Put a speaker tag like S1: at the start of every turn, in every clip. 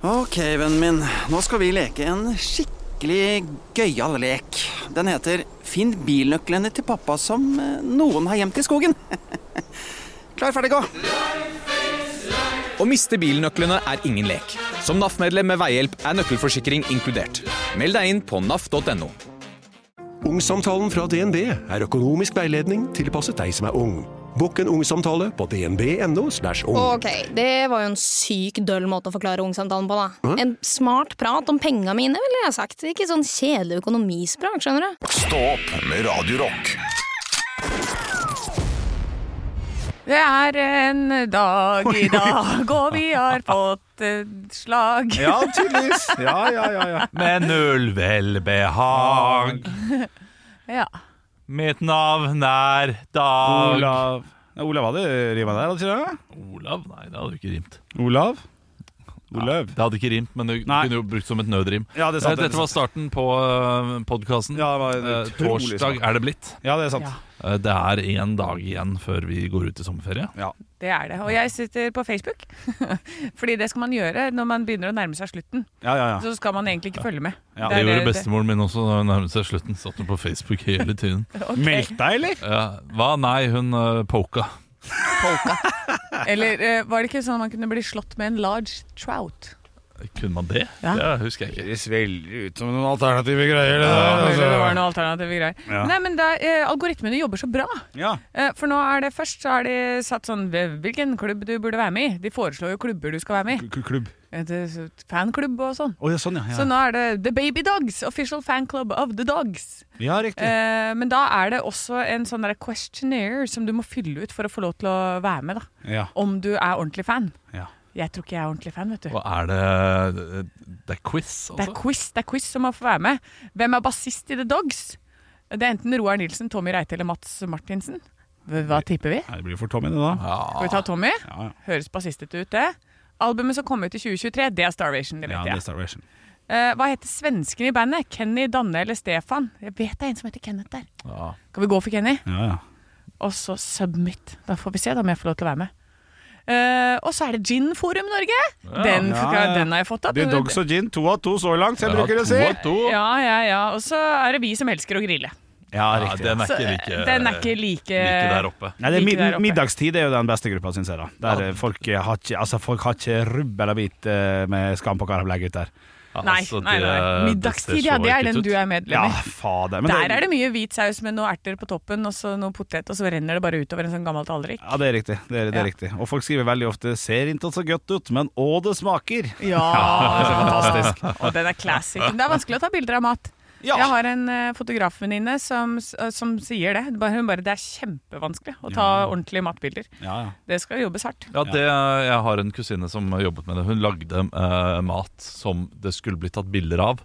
S1: Ok, vennen min. Nå skal vi leke en skikkelig gøyal lek. Den heter Finn bilnøklene til pappa som eh, noen har gjemt i skogen. Klar, ferdig, gå!
S2: Å miste bilnøklene er ingen lek. Som NAF-medlem med veihjelp er nøkkelforsikring inkludert. Meld deg inn på naf.no.
S3: Ungsamtalen fra DNB er økonomisk veiledning tilpasset deg som er ung. Bokk en ungsamtale på dnb.no. slash ung.
S4: Ok, det var jo en syk døll måte å forklare ungsamtalen på, da. En smart prat om penga mine, ville jeg sagt. Ikke sånn kjedelig økonomisprat, skjønner du.
S5: Stå opp med Radio Rock.
S6: Det er en dag i dag, og vi har fått et slag.
S7: Ja, tydeligvis. Ja, ja, ja, ja. Med null velbehag.
S6: Ja.
S7: Mitt navn er Dag.
S8: Olav Nei, Olav hadde rima der, hadde ikke det?
S7: Olav? Nei, det hadde jo ikke rimt.
S8: Olav?
S7: Ja,
S8: Olav?
S7: det hadde ikke rimt, men det
S8: Nei.
S7: kunne jo brukt som et nødrim.
S8: Ja, det er sant,
S7: Eh, Dette var starten på podkasten.
S8: Ja, det var en utrolig
S7: Torsdag
S8: smart.
S7: er det blitt.
S8: Ja, det er sant.
S6: Ja.
S7: Eh, Det er én dag igjen før vi går ut i sommerferie.
S6: Det er det. Og jeg sitter på Facebook, fordi det skal man gjøre når man begynner å nærme seg slutten.
S8: Ja, ja, ja.
S6: Så skal man egentlig ikke følge med.
S8: Ja,
S7: Det
S6: er
S7: gjorde bestemoren min også da hun nærmet seg slutten. Satt hun på Facebook hele tiden.
S8: Meldt deg, eller?
S7: Ja, hva? Nei, hun eh, poka.
S6: Eller eh, var det ikke sånn at man kunne bli slått med en large trout?
S7: Kunne man det?
S6: Ja.
S7: Det husker jeg ikke.
S8: Det svelger ut som noen alternative greier. Det der,
S6: Eller det var
S8: altså.
S6: noen alternative greier.
S8: Ja.
S6: Nei, men da, eh, Algoritmene jobber så bra.
S8: ja.
S6: Eh, For nå er det først så er de satt sånn Hvilken klubb du burde være med i? De foreslår jo klubber du skal være med i.
S8: K- k- Klubb.
S6: Eh, det er så- Fanklubb og sånn.
S8: Å ja, sånn, ja.
S6: Så
S8: Ja,
S6: nå er det The Baby Dogs, official fan club of the dogs.
S8: ja riktig.
S6: Eh, men da er det også en sånn der questionnaire som du må fylle ut for å få lov til å være med, da.
S8: Ja.
S6: Om du er ordentlig fan.
S8: Ja.
S6: Jeg tror ikke jeg er ordentlig fan, vet du.
S7: Og er det Det er quiz,
S6: Det er
S7: altså?
S6: quiz det er quiz som må få være med. Hvem er bassist i The Dogs? Det er enten Roar Nilsen, Tommy Reite eller Mats Martinsen. Hva hva tipper vi?
S8: Nei, det blir for Tommy, det da.
S6: Skal vi ta Tommy?
S8: Ja, ja.
S6: Høres bassistete ut, det. Albumet som kom ut i 2023, det er Starvation. det vet
S8: Ja, det
S6: jeg.
S8: er Starvation.
S6: Eh, hva heter svensken i bandet? Kenny, Danne eller Stefan? Jeg vet det er en som heter Kenneth der.
S7: Ja.
S6: Skal vi gå for Kenny?
S8: Ja, ja.
S6: Og så submit. Da får vi se da om jeg får lov til å være med. Eh, og så er det Gin Forum Norge. den,
S8: Ja, ja.
S6: den har jeg fått opp.
S8: Det er Dogs og gin. To av to så langt, så jeg
S7: Ja,
S8: bruker å
S7: to
S8: si.
S7: av to.
S6: Ja, ja, ja. Og så er det vi som elsker å grille.
S8: Ja,
S7: Ja,
S8: riktig.
S7: den er
S6: Så,
S7: ikke
S6: eh,
S7: like,
S6: den er ikke like-
S7: like der oppe.
S8: Nei, det
S6: Like
S8: er mid
S6: der oppe.
S8: middagstid er jo den beste gruppa, syns jeg. da Der
S7: Ja.
S8: eh, folk, eh, har ikke, altså, folk har ikke rubb eller bit eh, med skam på hva de legger ut der.
S6: Nei,
S7: Altså,
S6: nei,
S7: det-
S6: nei. Middagstid, ja.
S7: ser
S6: Det er
S7: ikke
S6: den
S7: ut.
S6: du er medlem
S8: Ja,
S6: i.
S8: fader. men
S6: Der er det mye hvit saus med noen erter på toppen og så noe potet, og så renner det bare utover en sånn gammel tallrik.
S8: Ja, det er riktig. Det er, det er
S6: Ja.
S8: riktig. Og folk skriver veldig ofte 'ser ikke så godt ut, men å, det smaker'.
S6: Ja,
S8: det er fantastisk.
S6: Og den er classic. Det er vanskelig å ta bilder av mat.
S8: Ja.
S6: Jeg har en eh, fotografvenninne som, s- eh, som sier det. Bare- Hun bare Det er kjempevanskelig å ta ordentlige matbilder.
S8: Ja, ja.
S6: Det skal jobbes hardt.
S7: Ja, det, jeg har en kusine som jobbet med det. Hun lagde eh, mat som det skulle bli tatt bilder av.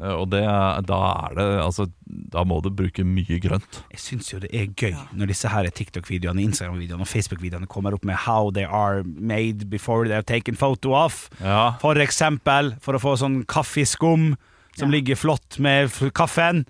S7: Eh, og det, da er det Altså, da må du bruke mye grønt.
S8: Jeg syns jo det er gøy når disse her TikTok-videoene, Instagram-videoene og Facebook-videoene kommer opp med 'how they are made before they are taken photo of'.
S7: Ja.
S8: For eksempel for å få sånn kaffeskum som ligger flott med f kaffen.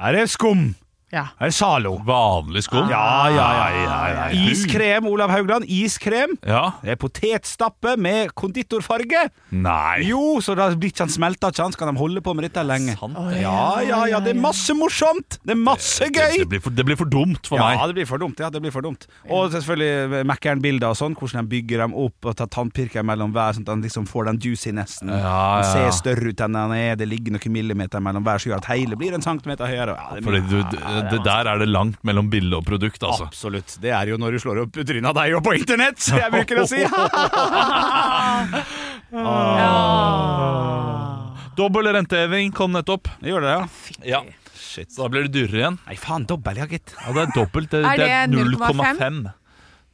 S8: Her er skum!
S6: Ja.
S8: Her er Zalo.
S7: Vanlig skum.
S8: Ja, ja, ja,
S7: ja, ja.
S8: Iskrem, Olav Haugland. Iskrem.
S7: Ja.
S8: Det er potetstappe med konditorfarge.
S7: Nei.
S8: Jo, så da blir ikke han smelta, ikke han? Så kan de holde på med dette lenge.
S7: Sant.
S8: Ja, ja, ja, det er masse morsomt! Det er masse gøy!
S7: Det, blir for, det blir for dumt for
S8: Ja,
S7: meg.
S8: det blir for dumt. ja, det blir for dumt Og selvfølgelig eh, Mækkern-bilder og sånn. Hvordan de bygger dem opp og tar tannpirker mellom hver, sånn at den liksom får den juicy nesten.
S7: Ja,
S8: Den
S7: ja, ja.
S8: ser større ut enn den er. Det ligger noen millimeter mellom hver, som gjør at hele blir en centimeter høyere. Ja, det er
S7: Fordi
S8: mye.
S7: du, det, det
S6: altså.
S7: der er det langt mellom bilde og produkt, altså.
S6: Ah.
S8: Absolutt. Det er jo når du slår opp trynet av deg og på internett, som jeg bruker å si.
S6: Ah.
S7: Dobbel renteheving kom nettopp.
S8: Jeg gjør det, ja.
S7: Ja. Så da blir det dyrere igjen.
S8: Nei, faen, dobbel, ja, gitt.
S7: Ja, det er dobbelt. Det,
S6: Er
S7: det er
S6: det
S7: 0,5.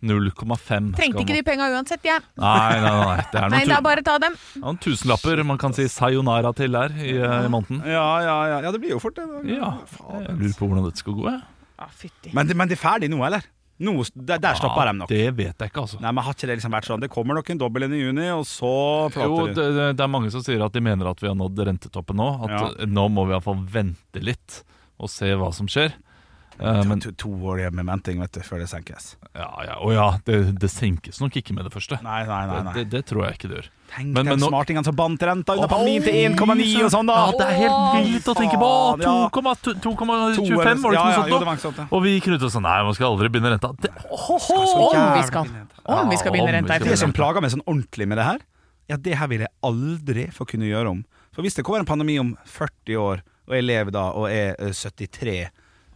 S7: 0,5.
S6: Trengte ikke de penga uansett, jeg.
S7: Nei, nei, nei. Det er
S6: Nei,
S7: noen
S6: da
S7: tu-
S6: bare ta dem.
S7: Ja, en tusenlapper man kan si sayonara til der i, eh, i måneden.
S8: Ja, ja, ja. ja, det blir jo fort det. da.
S7: Ja, jeg lurer på hvordan dette skal gå. jeg.
S6: Å, Ah, fytti.
S8: Men, det- men det er ferdig nå, eller? Nå, der der stopper de nok.
S7: Det vet jeg ikke, altså.
S8: Nei, men Har ikke det liksom vært sånn? Det kommer nok en dobbel en i juni, og så flater
S7: Jo,
S8: det.
S7: det, det- det er mange som sier at de mener at vi har nådd rentetoppen nå. At
S8: Ja.
S7: eh, nå må vi iallfall vente litt og se hva som skjer. Eh, men
S8: to, to år igjen med venting vet du, før det senkes.
S7: ja, ja, å ja, det, det senkes nok ikke med det første.
S8: Nei, nei, nei. nei.
S7: Det, det tror jeg ikke det gjør.
S8: Tenk
S7: Men- men
S8: den
S7: nå-
S8: smartingen som bandt renta
S7: Å,
S8: unna fra 9 til 1,9 og sånn,
S7: Ja,
S8: da!
S7: det er helt vilt å tenke på! Å,
S8: faen, ja.
S7: 2,25, var det
S8: To
S7: ikke
S8: eller-
S7: noe
S8: ja, ja,
S7: sånt?
S8: jo,
S7: nå?
S8: det var ikke sånt, ja.
S7: Og vi knudde oss sånn Nei, man skal aldri binde renta. Det,
S6: Om vi skal, Ah, om vi skal
S7: Ja,
S6: begynne
S7: om
S6: renta i
S7: vi skal
S8: Det
S6: fjor.
S8: som plager meg sånn ordentlig med det her, ja, det her vil jeg aldri få kunne gjøre om. For hvis det kommer en pandemi om 40 år, og jeg lever da og er eh, 73,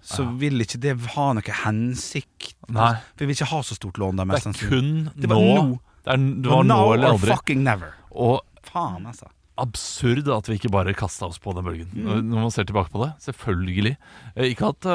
S8: så vil ikke det ha noe hensikt.
S7: Nei.
S8: For vi vil ikke ha så stort lån da,
S7: det
S8: mest
S7: er
S8: sannsynlig.
S7: kun
S8: Det var
S7: nå.
S8: nå.
S7: Det, er, det var nå
S8: Now
S7: eller
S8: or
S7: aldri.
S8: fucking never.
S7: Og
S8: Faen, altså.
S7: absurd at vi ikke bare kasta oss på den bølgen.
S8: Mm.
S7: Når- Når man ser tilbake på det. Selvfølgelig. Eh, Ikke at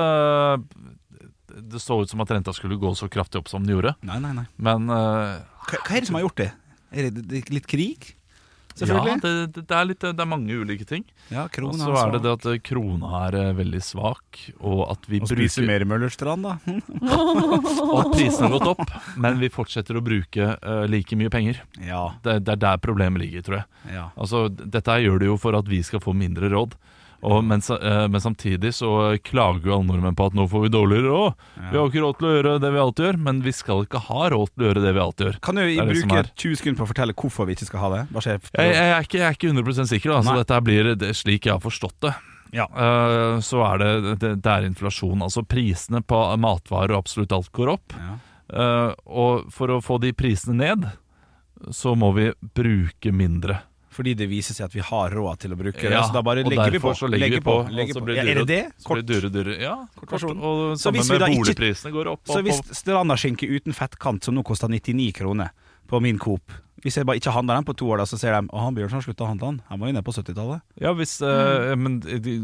S7: eh, det så ut som at renta skulle gå så kraftig opp som den gjorde,
S8: Nei, nei, nei.
S7: men eh,
S8: Hva, hva er det som har gjort det? Er det, det er litt krig?
S7: ja,
S8: Selvfølgelig.
S7: det, det, det, er litt, det er mange ulike ting.
S8: Ja,
S7: Og
S8: altså. krona,
S7: så er det det at eh, krona er eh, veldig svak, og at vi
S8: Og
S7: bruker
S8: spise mer i Møllerstrand, da. Hm?
S7: Og at prisene har gått opp, men vi fortsetter å bruke eh, like mye penger.
S8: Ja,
S7: Det, det er der problemet ligger, tror jeg.
S8: ja.
S7: Altså, dette her gjør det jo for at vi skal få mindre råd. Og, men, sa- eh, men samtidig så klager jo alle nordmenn på at nå får vi dårligere råd. Vi har jo ikke råd til å gjøre det vi alltid gjør, men vi skal ikke ha råd til å gjøre det vi alltid gjør.
S8: Kan du
S7: er det som
S8: bruke
S7: er.
S8: 20 sekunder på å fortelle hvorfor vi ikke skal ha det? Hva skjer?
S7: Jeg, jeg, er, ikke, jeg er ikke 100 sikker, da. så
S8: Nei.
S7: dette her blir det, slik jeg har forstått det.
S8: Ja.
S7: Eh, så er det, det, det er inflasjon. Altså prisene på matvarer og absolutt alt går opp.
S8: Ja.
S7: Eh, og for å få de prisene ned, så må vi bruke mindre.
S8: Fordi det viser seg at vi har råd til å bruke det,
S7: Ja,
S8: så da bare
S7: og
S8: legger vi på.
S7: derfor så legger vi på, og
S8: legger
S7: så
S8: på.
S7: blir det
S8: Ja, er det det?
S7: Så blir
S8: Kort.
S7: det dyrere, dyrere. Ja, kort
S8: Kort versjon.
S7: versjon. Og
S8: Så
S7: sammen
S8: hvis vi
S7: med
S8: da ikke-
S7: boligprisene går opp.
S8: Så
S7: opp,
S8: hvis
S7: opp.
S8: strandaskinke uten fettkant, som nå koster 99 kroner på min Coop Hvis jeg bare ikke handler den på to år, da, så ser de at han Bjørnson slutta å handle den. Han var jo nede på 70-tallet.
S7: Ja, hvis, eh, men det det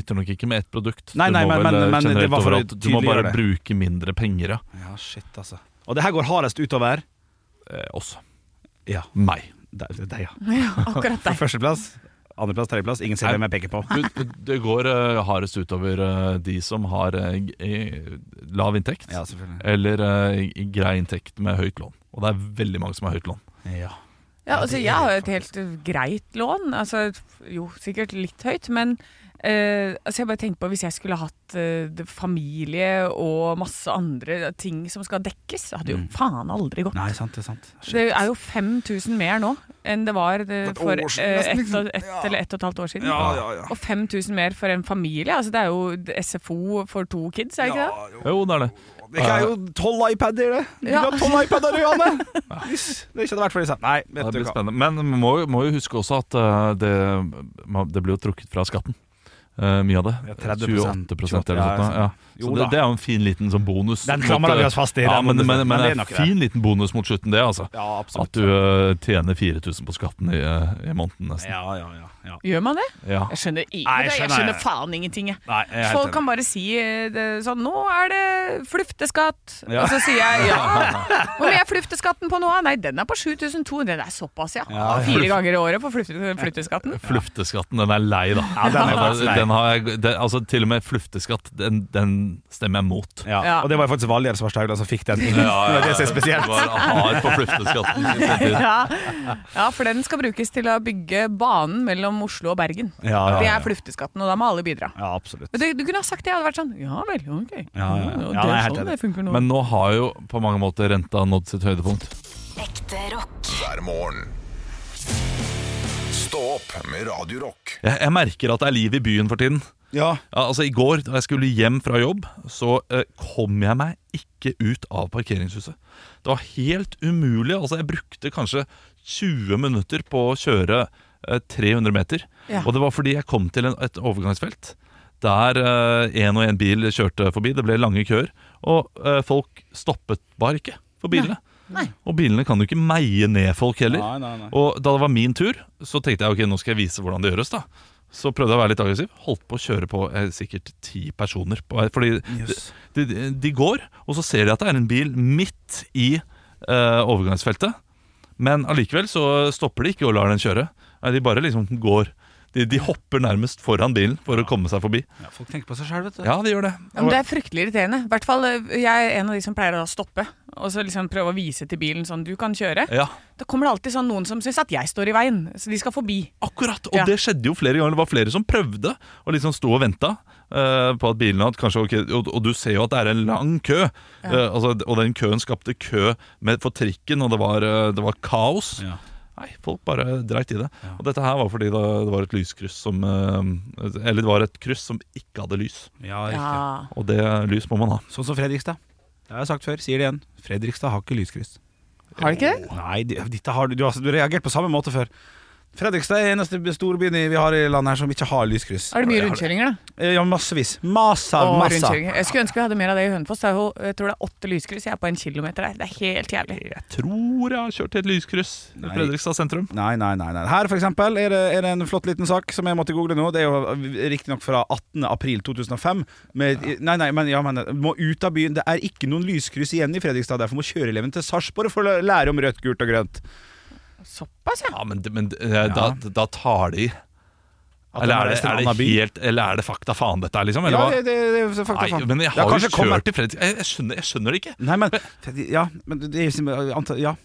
S7: nytter nok ikke med ett produkt.
S8: Mm. Nei,
S7: Du
S8: nei,
S7: må
S8: men-
S7: vel,
S8: men-
S7: eh,
S8: men det
S7: generelt
S8: var for å
S7: overalt, Du må
S8: tydeliggjøre
S7: bare
S8: det.
S7: bruke mindre penger, ja.
S8: Ja, shit, altså. Og det her går hardest utover
S7: Eh, oss.
S8: Ja,
S7: Meg.
S8: deg, deg ja.
S6: Ja, akkurat
S8: For
S6: deg.
S8: førsteplass, andreplass, tredjeplass. Ingen ser
S7: Nei.
S8: hvem jeg peker på.
S7: Men Det går eh, hardest utover eh, de som har eh, g- eh, lav inntekt,
S8: Ja, selvfølgelig.
S7: eller eh, grei inntekt med høyt lån. Og det er veldig mange som har høyt lån.
S8: Ja.
S6: Ja, altså, jeg har jo et helt uh, greit lån. Altså, jo, sikkert litt høyt, men eh, altså, jeg bare tenker på hvis jeg skulle hatt eh, det- familie og masse andre ting som skal dekkes, hadde jo faen aldri gått.
S8: Nei, sant, det er sant.
S6: Det er jo 5000 mer nå enn det var det, for eh, ett og- ett eller ett og et halvt år siden. Og 5000 mer for en familie. Altså, det er jo SFO for to kids, er det ikke det?
S7: Jo, det er det.
S8: Det er jo tolv iPader, det. Du
S6: Ja.
S8: har tolv iPader, du, Anne! Hvis det ikke hadde vært for disse. Nei,
S7: Ja,
S8: vet
S7: det
S8: du
S7: blir
S8: hva.
S7: spennende. Men man må, jo- må jo huske også at eh, det, ma- det blir jo trukket fra skatten. Eh, mye av det.
S8: Ja, 30%.
S7: 28 eller noe
S8: Ja,
S7: sånt. Ja.
S8: Jo
S7: Så
S8: da.
S7: det, det er jo en fin liten sånn bonus.
S8: Den
S7: mot,
S8: klamrer vi
S7: eh,
S8: oss fast i,
S7: Ja,
S8: den
S7: men, men, men,
S8: bonusen. Men det er
S7: en
S8: nok det.
S7: fin liten bonus mot slutten, det, altså.
S8: Ja,
S7: At
S8: absolutt.
S7: du eh, tjener 4000 på skatten i, eh, i måneden, nesten.
S8: Ja, ja, ja. ja.
S6: Gjør man det?
S7: Ja.
S6: Jeg skjønner, ikke
S8: Nei, jeg
S6: det. jeg
S8: skjønner-
S6: skjønner faen ingenting, jeg.
S8: Nei, jeg er helt
S6: Folk
S8: enig.
S6: kan bare si eh, det, sånn Nå er det flufteskatt!
S8: Ja.
S6: Og så sier jeg ja. Hvor er flufteskatten på nå? Nei, den er på 7200. Det er såpass, ja.
S8: Ja, ja.
S6: Fire ganger i året på flufte- flufteskatten.
S7: Flufteskatten, den er lei, da. Altså,
S8: Ja, den er faktisk lei.
S7: Den har jeg, den, altså, til og med flufteskatt, den, den stemmer jeg mot.
S8: Ja.
S6: Ja.
S8: Og det var jo faktisk Valgerd som var Staugland som fikk den. Det er det som er spesielt.
S7: Var hard på flufteskatten. synes jeg.
S6: Ja. ja, for den skal brukes til å bygge banen mellom Oslo og Bergen.
S8: Ja, ja,
S6: Det
S8: ja.
S6: er flufteskatten, og da må alle bidra.
S8: Ja, absolutt.
S6: Men du, du kunne ha sagt det, jeg hadde vært sånn Ja vel, ok.
S8: Ja, ja, ja.
S6: det
S8: Ja, nei,
S6: er
S8: helt
S6: sånn
S8: enig.
S6: det funker nå.
S7: Men nå har jo på mange måter renta nådd sitt høydepunkt.
S9: Ekte rock.
S5: hver morgen. Stå opp med Radio Rock.
S7: Jeg, jeg merker at det er liv i byen for tiden.
S8: Ja,
S7: Ja, altså I går da jeg skulle hjem fra jobb, så eh, kom jeg meg ikke ut av parkeringshuset. Det var helt umulig. altså Jeg brukte kanskje 20 minutter på å kjøre eh, 300 meter.
S6: Ja.
S7: Og det var fordi jeg kom til en, et overgangsfelt der én og én bil kjørte forbi. Det ble lange køer. Og eh, folk stoppet bare ikke for bilene. Og bilene kan jo ikke meie ned folk heller.
S8: Nei, nei, nei.
S7: Og da det var min tur, så tenkte jeg ok, nå skal jeg vise hvordan det gjøres. da Så prøvde jeg å være litt aggressiv. Holdt på å kjøre på eh, sikkert ti personer. På, vei, fordi
S8: Jøss.
S7: de, de, de går, og så ser de at det er en bil midt i eh, overgangsfeltet. Men allikevel så stopper de ikke og lar den kjøre. Nei, De bare liksom går De, de hopper nærmest foran bilen for å komme seg forbi.
S8: Ja, folk tenker på seg sjøl, vet du.
S7: Ja, de gjør det.
S6: Ja, men det er fryktelig irriterende. I hvert fall, eh, Jeg er en av de som pleier å da stoppe og så liksom prøve å vise til bilen sånn du kan kjøre.
S7: Ja,
S6: Da kommer det alltid sånn noen som syns at jeg står i veien, så de skal forbi.
S7: akkurat. Og
S6: Ja.
S7: det skjedde jo flere ganger. Det var flere som prøvde å liksom stå og vente eh, på at bilen hadde kanskje ok, og, og du ser jo at det er en lang kø. Eh, altså, og den køen skapte kø med, for trikken, og det var, eh, det var kaos.
S8: Ja.
S7: Nei, folk bare dreit i det. Og dette her var fordi det, det var et lyskryss som eh, Eller det var et kryss som ikke hadde lys.
S8: Ja, riktig.
S6: Ja.
S7: Og det lys må man ha.
S8: Sånn som Fredrikstad. Det har jeg sagt før, sier det igjen. Fredrikstad har ikke lyskryss.
S6: Har de ikke det?
S8: Nei, de- dette har du, du, har, du har reagert på samme måte før. Fredrikstad er eneste storbyen i- vi har i landet her som ikke har lyskryss.
S6: Er det mye rundkjøringer, da?
S8: Eh, Ja, massevis. Masa,
S6: Å,
S8: massa.
S6: rundkjøringer. Jeg skulle ønske vi hadde mer av det i Hønefoss. Det er jo- Jeg tror det er åtte lyskryss. Jeg er på en kilometer der. Det er helt jævlig.
S7: Jeg tror jeg har kjørt til et lyskryss i
S8: Nei.
S7: Fredrikstad sentrum.
S8: Nei, nei, nei, nei. Her for eksempel er det, er det en flott liten sak som jeg måtte google nå. Det er jo eh, riktignok fra 18. april 2005. Med, Nei, nei, men, ja, men må ut av byen. Det er ikke noen lyskryss igjen i Fredrikstad. Derfor må kjøreeleven til Sarpsborg for å lære om rødt, gult og grønt.
S6: Såpass, ja.
S7: Ja, men, men eh, Da, da tar de i.
S8: At
S7: Eller
S8: han
S7: er
S8: har
S7: det,
S8: reist til en
S7: er det
S8: annen by.
S7: helt Eller er det fakta faen dette er, liksom? Eller
S8: Ja,
S7: hva?
S8: det, det, det, er fakta,
S7: Nei,
S8: faen.
S7: men jeg
S8: Det
S7: har jo
S8: kanskje kommet-
S7: kjørt til Fredrikstad. Jeg, jeg, skjønner- jeg skjønner ikke.
S8: Nei, men Ja, men det er jo sim- anta- Ja.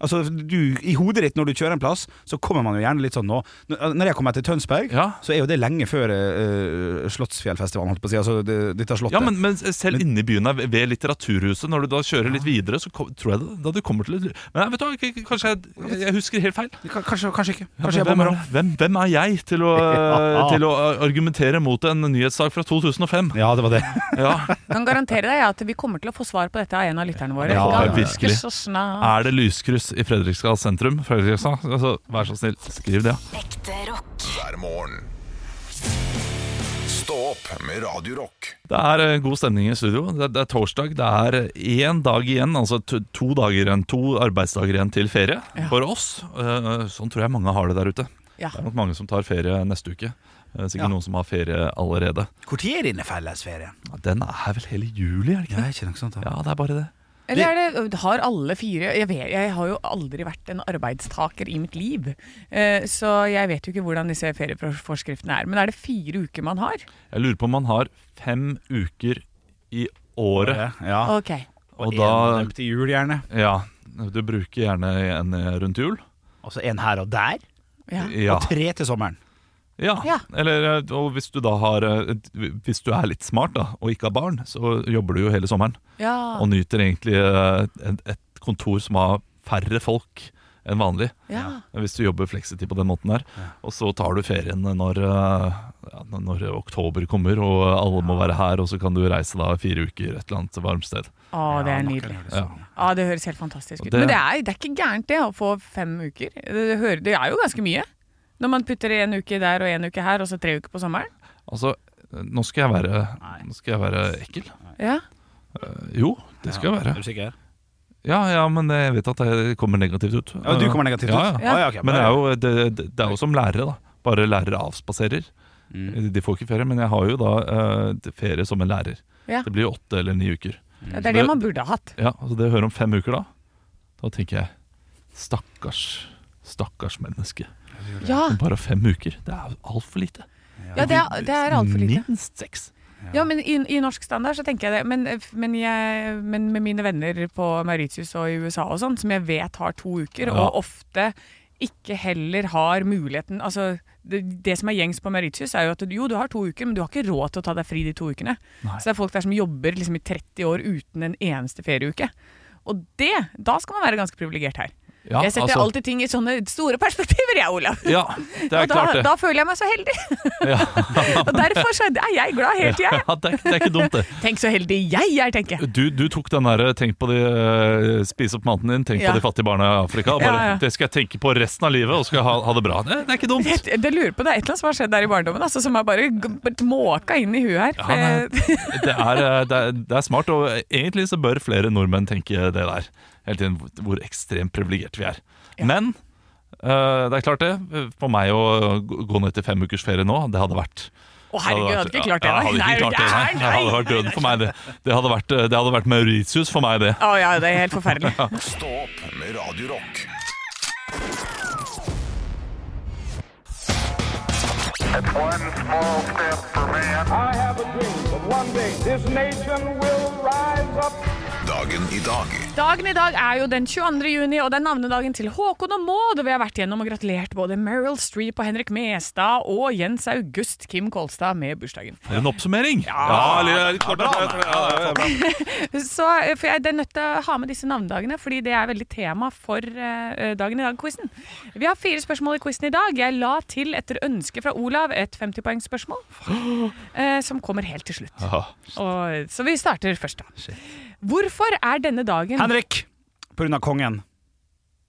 S8: Altså, du, I hodet ditt når du kjører en plass, så kommer man jo gjerne litt sånn nå. Når når jeg kommer til Tønsberg,
S7: Ja,
S8: så er jo det lenge før uh, Slottsfjellfestivalen, holdt på å si. Altså, det, dette slottet.
S7: ja men, men selv inne i byen her, ved Litteraturhuset, når du da kjører litt videre, så kom, tror jeg da du kommer til et ly- Men nei, vet du, hva, k- k- kanskje jeg, jeg husker helt feil.
S8: K- Kanskje, kanskje ikke.
S7: Ja,
S8: Kanskje jeg
S7: hvem,
S8: bommer
S7: er,
S8: om.
S7: hvem, hvem er jeg til å,
S8: Ja.
S7: til å argumentere mot en nyhetssak fra 2005?
S8: Ja, det var det.
S7: Ja,
S6: Jeg kan garantere deg at vi kommer til å få svar på dette av en av lytterne våre.
S7: Ja,
S6: Ganske
S7: virkelig.
S6: Så snart.
S7: Er det lyskryss i Fredrikstad sentrum? Fredrikstad? Altså, vær så snill, skriv det. ja.
S9: Ekte rock.
S5: hver morgen. Stå opp med Radio Rock.
S7: Det er eh, god stemning i studio. Det, det er torsdag. Det er én dag igjen, altså to, to dager igjen, to arbeidsdager igjen til ferie for oss. Eh, Sånn tror jeg mange har det der ute.
S6: Ja.
S7: Det er nok mange som tar ferie neste uke. Eh, Sikkert
S8: Ja.
S7: noen som har ferie allerede.
S8: Når er denne fellesferien?
S7: Ja, Den er vel hele juli, er det ikke det?
S8: Nei, ikke noe sånt. da.
S7: Ja, det er bare det.
S6: Eller er det, har alle fire jeg, vet, jeg har jo aldri vært en arbeidstaker i mitt liv, eh, så jeg vet jo ikke hvordan disse ferieforskriftene er. Men er det fire uker man har?
S7: Jeg lurer på om man har fem uker i året.
S8: Ja.
S6: Ok.
S7: Og
S8: en av
S7: da
S8: dem til jul, gjerne.
S7: Ja, du bruker gjerne en eh, rundt jul.
S8: Og så en her og der.
S6: Ja.
S7: Ja.
S8: Og tre til sommeren.
S7: Ja,
S6: Ja.
S7: Eller, eh, og hvis du da har eh, Hvis du er litt smart da og ikke har barn, så jobber du jo hele sommeren.
S6: ja.
S7: Og nyter egentlig eh, et, et kontor som har færre folk enn vanlig.
S6: ja.
S7: Hvis du jobber fleksitid på den måten der. Og så tar du ferien når, eh, ja, når oktober kommer og alle må være her, og så kan du reise da fire uker et eller annet varmt sted.
S6: Å, det er
S8: Ja,
S6: nydelig.
S8: makker,
S7: Ja.
S6: Ja, Det høres helt fantastisk ut.
S7: Og det-
S6: Men det er, det er ikke gærent det å få fem uker. Det, hører, det er jo ganske mye. Når man putter en uke der og en uke her, og så tre uker på sommeren.
S7: Altså, eh, nå skal jeg være, nå skal jeg være ekkel.
S6: Ja,
S7: Eh, Jo, det skal jeg være.
S8: Er du sikker?
S7: Ja, ja, men jeg vet at jeg kommer negativt ut.
S8: Ja, du kommer negativt ut.
S7: Ja, ja.
S8: Ah, ja, ok,
S7: Men det
S8: bare-
S7: er, jo, det, det det er jo som lærere, da. Bare lærere avspaserer.
S8: Mm.
S7: Eh, De får ikke ferie, men jeg har jo da eh, ferie som en lærer.
S6: Ja.
S7: Det blir jo åtte eller ni uker.
S6: Det er det man burde ha hatt.
S7: Ja, altså Det å høre om fem uker da, da tenker jeg stakkars, stakkars menneske.
S6: Ja,
S7: Men bare fem uker, det er jo altfor lite.
S6: ja det er, det er altfor lite.
S7: Minst seks.
S6: Ja, men i, i norsk standard så tenker jeg det. Men, eh, men, jeg, men med mine venner på Mauritius og i USA og sånn, som jeg vet har to uker,
S7: Ja.
S6: og ofte ikke heller har muligheten Altså, det, det som er gjengs på Mauritius, er jo at du- jo, du har to uker, men du har ikke råd til å ta deg fri de to ukene.
S7: Nei.
S6: Så det er folk der som jobber liksom i 30 år uten en eneste ferieuke. Og det, da skal man være ganske privilegert her.
S7: Ja,
S6: jeg setter
S7: altså-
S6: alltid ting i sånne store perspektiver, jeg, Olav.
S7: Ja, det er
S6: og da,
S7: klart det.
S6: da føler jeg meg så heldig. og derfor så er jeg glad helt til jeg er
S7: Ja, det, er, det er ikke dumt, det.
S6: Tenk så heldig jeg er, tenker jeg.
S7: Du, du tok den der 'tenk på de eh, spis opp maten din', 'tenk
S6: Ja.
S7: på de fattige barna i Afrika'. og Bare,
S6: Ja, ja.
S7: Det skal jeg tenke på resten av livet, og skal jeg ha, ha det bra. Det, det er ikke dumt.
S6: Jeg, jeg lurer på det er et eller annet som har skjedd der i barndommen, altså, som har bare g- blitt måka inn i huet her.
S7: Ja,
S6: For
S7: nei.
S6: jeg-
S7: Det er, eh, det, er, det er smart, og egentlig så bør flere nordmenn tenke det der. Hele tiden hvor- hvor ekstremt privilegert vi er. Men eh, det er klart det. For meg å gå- gå ned til fem ukers ferie nå, det hadde vært
S6: Å herregud, jeg hadde ikke klart det.
S7: Ja, jeg
S6: nei.
S7: hadde
S6: Nei,
S7: ikke klart det, nei. Det hadde vært døden for meg, det. Det hadde vært, det hadde vært Mauritius for meg, det.
S6: Å ja, det er helt forferdelig.
S5: Stå opp med Radio Rock.
S9: It's one small step for man. I have a dream that one day this nation will rise up.
S5: Dagen i dag.
S6: Dagen i dag er jo den 22. juni, og det er navnedagen til Håkon og Maud. Og vi har vært gjennom og gratulert både Meryl Streep og Henrik Mestad og Jens August Kim Kolstad med bursdagen.
S7: For en oppsummering! Ja, eller- klart det er- ja, ja, ja.
S6: Så eh, for jeg er nødt til å ha med disse navnedagene, fordi det er veldig tema for eh, dagen i dag-quizen. Vi har fire spørsmål i quizen i dag. Jeg la til etter ønske fra Olav et 50-poengsspørsmål, eh, som kommer helt til slutt. Og, så vi starter først, da. Hvorfor er denne dagen
S8: Henrik! På grunn av kongen.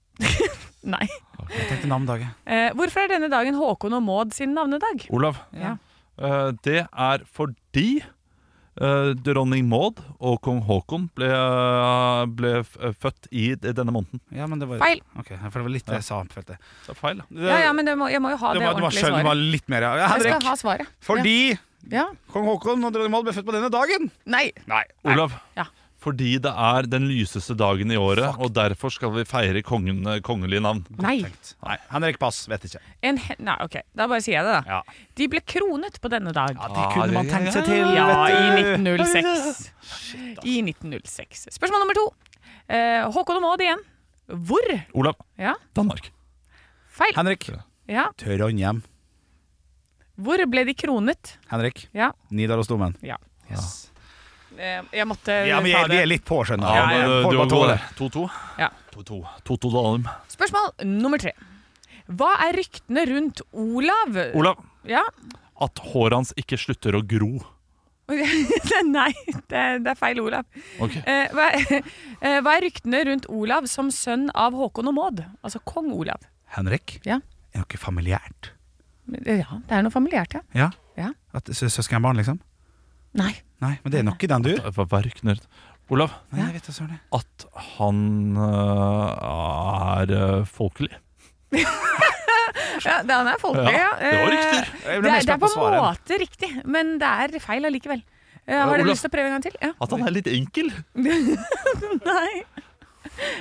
S6: Nei.
S8: Jeg tenkte navnedagen.
S6: Eh, hvorfor er denne dagen Håkon og Maud sin navnedag?
S7: Olav,
S6: Ja.
S7: eh, det er fordi eh, dronning Maud og kong Haakon ble, eh, ble f- født i d- denne måneden.
S8: Ja, men det var,
S6: Feil.
S8: Ok, for det var litt det jeg sa. Følte. jeg.
S7: Det er feil.
S8: Det,
S6: Ja, ja, men det må, jeg må jo ha
S8: det,
S6: det,
S8: var, det, var,
S6: ordentlige
S8: skjønn- det var
S6: svaret.
S8: litt mer, ja. ja
S6: Jeg skal
S8: Henrik!
S6: ha svaret.
S8: Fordi
S6: Ja.
S8: kong Haakon og dronning Maud ble født på denne dagen!
S6: Nei.
S8: Nei.
S7: Olav,
S6: Ja.
S7: fordi det er den lyseste dagen i året, og derfor skal vi feire kongen, eh, kongelige navn.
S6: Nei.
S8: Nei. Henrik Pass, vet ikke.
S6: En he Nei, OK. Da bare sier jeg det, da.
S8: Ja.
S6: De ble kronet på denne dag.
S8: Det kunne man tenkt seg til.
S6: Ja,
S8: vet
S6: i
S8: du.
S6: 1906. I 1906. Spørsmål nummer to. Eh, Håkon og Maud igjen. Hvor?
S7: Olav,
S6: Ja,
S7: Danmark.
S6: feil.
S8: Henrik.
S6: Ja.
S8: Trondheim.
S6: Hvor ble de kronet?
S8: Henrik.
S6: Ja.
S8: Nidarosdomen.
S6: ja. Eh, jeg måtte
S8: Ja, vi
S6: ta
S8: er, vi
S6: det.
S8: er litt på, skjønner
S7: Ja,
S8: jeg.
S7: men, eh,
S8: Folk
S7: du var
S8: bare tåler
S7: god
S8: det.
S7: der. 2-2.
S6: Ja.
S7: 2-2. 2-2 Dalum.
S6: Spørsmål nummer tre. Hva er ryktene rundt Olav?
S7: Olav,
S6: Ja.
S7: at håret hans ikke slutter å gro.
S6: Nei, det, er- det er feil Olav.
S7: Ok.
S6: Eh, hva, er- eh, hva er ryktene rundt Olav som sønn av Håkon og Maud? Altså kong Olav.
S8: Henrik,
S6: Ja.
S8: er noe familiært?
S6: Men, Ja, det er noe familiært, ja.
S8: Ja?
S6: Ja.
S8: At sø- Søskenbarn, liksom?
S6: Nei.
S8: Nei, men det er nok i den, du.
S7: Hva hva rykner Olav,
S8: Nei, jeg vet da søren. jeg.
S7: at han øh, er øh, folkelig.
S6: Ja, det- han er folkelig, ja.
S7: Ja, det
S6: Eh,
S7: var riktig.
S8: Jeg ble
S6: Det er,
S8: mer
S6: det er
S8: spent
S6: på
S8: på
S6: en
S8: svaret.
S6: måte riktig, men det er feil allikevel. Eh, har dere
S7: Olav.
S6: lyst til å prøve en gang til? Ja.
S7: At han er litt enkel.
S6: Nei.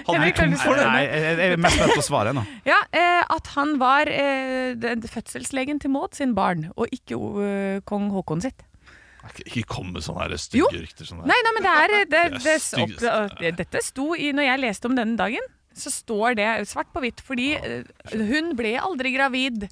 S7: Han
S6: Henrik,
S7: er
S6: har
S7: tom
S6: du
S7: for det.
S8: Nei, jeg jeg er mest spent på svaret nå.
S6: Ja, eh, At han var eh, den- fødselslegen til Maud sin barn, og ikke eh, kong Håkon sitt.
S7: Ikke- Ikke kom med sånne her
S6: Jo.
S7: stygge rykter. Sånn
S6: Nei, nei, men det er, det,
S7: Det er altså.
S6: det,
S7: styggest.
S6: opp, det, Dette sto i Når jeg leste om denne dagen, så står det svart på hvitt. Fordi eh, hun ble aldri gravid.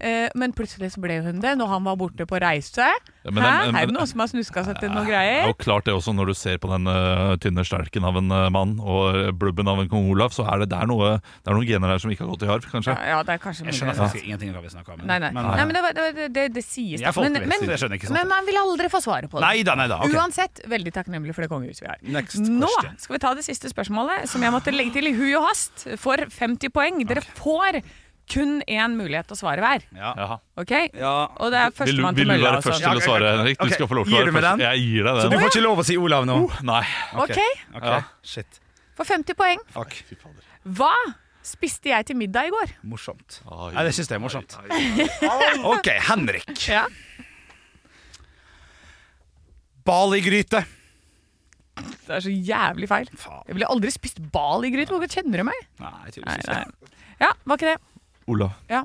S6: eh, Men plutselig så ble hun det når han var borte på reise.
S7: Ja, men-
S6: Hæ?
S7: men-
S6: er det
S7: men-
S6: noen som har snuska seg til noe
S7: Det er
S6: greier?
S7: jo klart det også Når du ser på den øh, tynne stelken av en øh, mann og øh, blubben av en kong Olav, så er det, det, er noe, det er noen gener her som ikke har gått i arv, kanskje.
S6: Ja, ja, det er kanskje
S8: Jeg
S6: mulig.
S8: skjønner faktisk ingenting av hva vi snakker om.
S6: Nei, nei.
S8: Men, eh,
S6: nei, men det, var- det, var- det, det sies
S8: Jeg er
S6: da. Men,
S8: folkelig,
S6: men,
S8: så jeg skjønner ikke sånt.
S6: men man vil aldri få svaret på det.
S8: Nei da, nei da. ok.
S6: Uansett, veldig takknemlig for det kongehuset vi har.
S8: Next
S6: Nå
S8: question.
S6: skal vi ta det siste spørsmålet, som jeg måtte legge til i hui og hast, for 50 poeng. Dere får kun én mulighet til å svare hver.
S7: Jaha.
S6: Ok?
S8: Ja.
S6: Og det er
S7: Vil, du-
S6: førstemann til
S7: vil du
S6: mølla.
S7: være
S6: altså.
S7: først til å
S8: Ja,
S7: svare,
S8: ok, ok.
S7: Henrik?
S8: Ok,
S7: Du skal få lov til å
S8: gir du
S7: være
S8: meg
S7: først.
S8: den?
S7: Jeg gir deg
S8: Du
S7: den.
S8: får ikke lov å si Olav nå.
S7: Nei.
S6: Uh, Ok,
S8: Ok,
S7: Ja.
S8: Shit.
S6: For 50 poeng.
S8: Fuck.
S6: Hva spiste jeg til middag i går?
S8: Morsomt.
S7: Oi.
S8: Nei, det syns jeg er morsomt. OK, Henrik.
S6: Ja.
S8: Baligryte.
S6: Det er så jævlig feil. Jeg ville aldri spist bal i gryte. Hvorfor kjenner du meg?
S8: Nei,
S6: Nei,
S8: tydeligvis
S6: nei. Ja, var ikke det.
S7: Olav.
S6: Ja.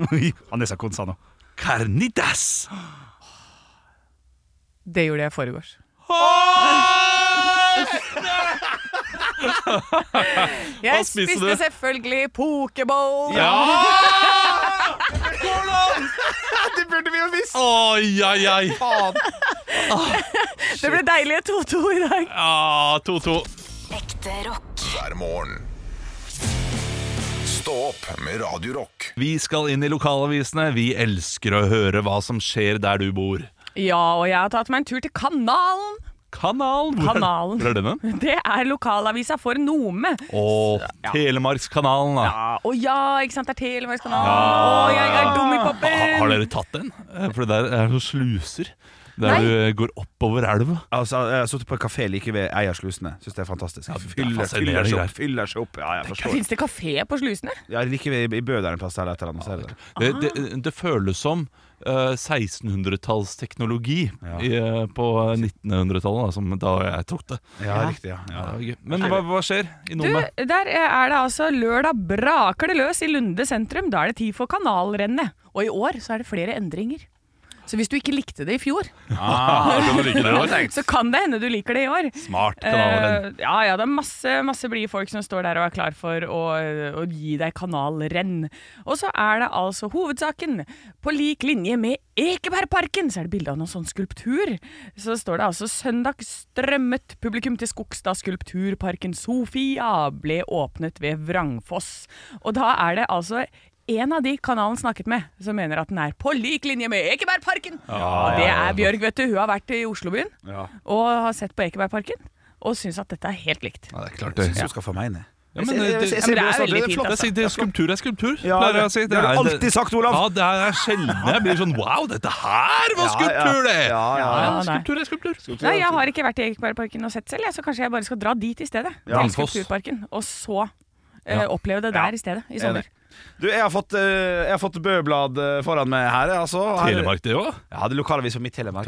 S8: ikke. Han er så konsa nå.
S7: Carnitas!
S6: Det gjorde jeg i forgårs. Jeg
S7: spiste
S6: spiste
S7: du?
S6: selvfølgelig pokeball.
S8: Det burde vi jo visst!
S7: Oi, oi, oi.
S6: Det ble deilige 2-2 i dag.
S7: Ja, 2-2.
S10: Ekte rock.
S5: Hver morgen. Stå opp med Radio Rock.
S7: Vi skal inn i lokalavisene. Vi elsker å høre hva som skjer der du bor.
S6: Ja, og jeg har tatt meg en tur til Kanalen.
S7: Kanalen. Hvor er-
S6: Kanalen.
S7: Hvor er denne?
S6: Det er lokalavisa for Nome.
S7: Å, Telemarkskanalen, da.
S6: Ja, og ja, ikke sant, det er Telemarkskanalen. Å, jeg er dum i
S7: Ha, har
S6: poppen.
S7: dere tatt den? Eh, For det der er jo sluser. Der
S6: Nei.
S7: du går oppover elva.
S8: Altså, jeg har sittet på en kafé like ved ei av slusene. Syns det er fantastisk.
S7: Ja, det er
S8: Fyller,
S7: fascinerende
S8: fyller seg
S7: greier.
S8: opp. Fyller seg opp. Ja, jeg forstår.
S6: Fins det kafé på slusene?
S8: Ja, like ved i Bø der en plass der, et eller annet. så er det det.
S7: Det, det,
S6: Ah.
S7: det føles som eh, 1600-tallsteknologi
S8: Ja.
S7: i, eh, på 1900-tallet, da, som da jeg tok det.
S8: Ja, riktig. Ja. Ja.
S7: Ja, det var gøy. Men hva, hva skjer i
S6: Du,
S7: Nome?
S6: der er det altså lørdag braker det løs i Lunde sentrum. Da er det tid for kanalrennet. Og i år så er det flere endringer. Så hvis du ikke likte det i fjor,
S7: Ah,
S6: så kan det hende du liker det i år.
S7: Smart kanalrenn.
S6: Eh, ja, ja, det er masse, masse blide folk som står der og er klar for å, å gi deg kanalrenn. Og så er det altså hovedsaken. På lik linje med Ekebergparken så er det bilde av noen sånn skulptur. Så står det altså 'Søndag strømmet publikum til Skogstad skulpturparken Sofia ble åpnet ved Vrangfoss'. Og da er det altså en av de kanalen snakket med som mener at den er på lik linje med Ekebergparken. og det er Bjørg, vet du. Hun har vært i Oslobyen
S8: Ja.
S6: og har sett på Ekebergparken og syns at dette er helt likt.
S7: Ja, det er klart
S8: Jeg
S7: det.
S8: syns du skal få meg ned.
S7: Ja, men, eh,
S8: Jeg- jeg-
S7: det-
S8: jeg- jeg-
S6: Ja, men det
S8: jeg-
S6: er
S8: jeg-
S6: veldig
S8: jeg-
S6: fint,
S8: flott.
S6: altså.
S7: Jeg sier det, Skulptur er skulptur,
S8: Ja,
S7: pleier jeg
S8: det-
S7: å si.
S8: det har du alltid sagt, Olav.
S7: Ja, det er sjelden jeg blir sånn Wow, dette her var
S8: Ja,
S7: skulptur, det!
S8: ja, ja,
S6: ja.
S7: skulptur er skulptur.
S6: Nei, jeg har ikke vært i Ekebergparken og sett selv, jeg, så kanskje jeg bare skal dra dit i stedet.
S8: Ja.
S6: Til Skulpturparken. Og så eh,
S7: Ja.
S6: oppleve det
S8: Ja.
S6: der i stedet, i sommer.
S8: Enig. Du, jeg har fått, eh, jeg har fått Bø-blad eh, foran meg her, altså. Her-
S7: Telemark, det òg?
S8: Ja, det er lokalavis for mitt Telemark.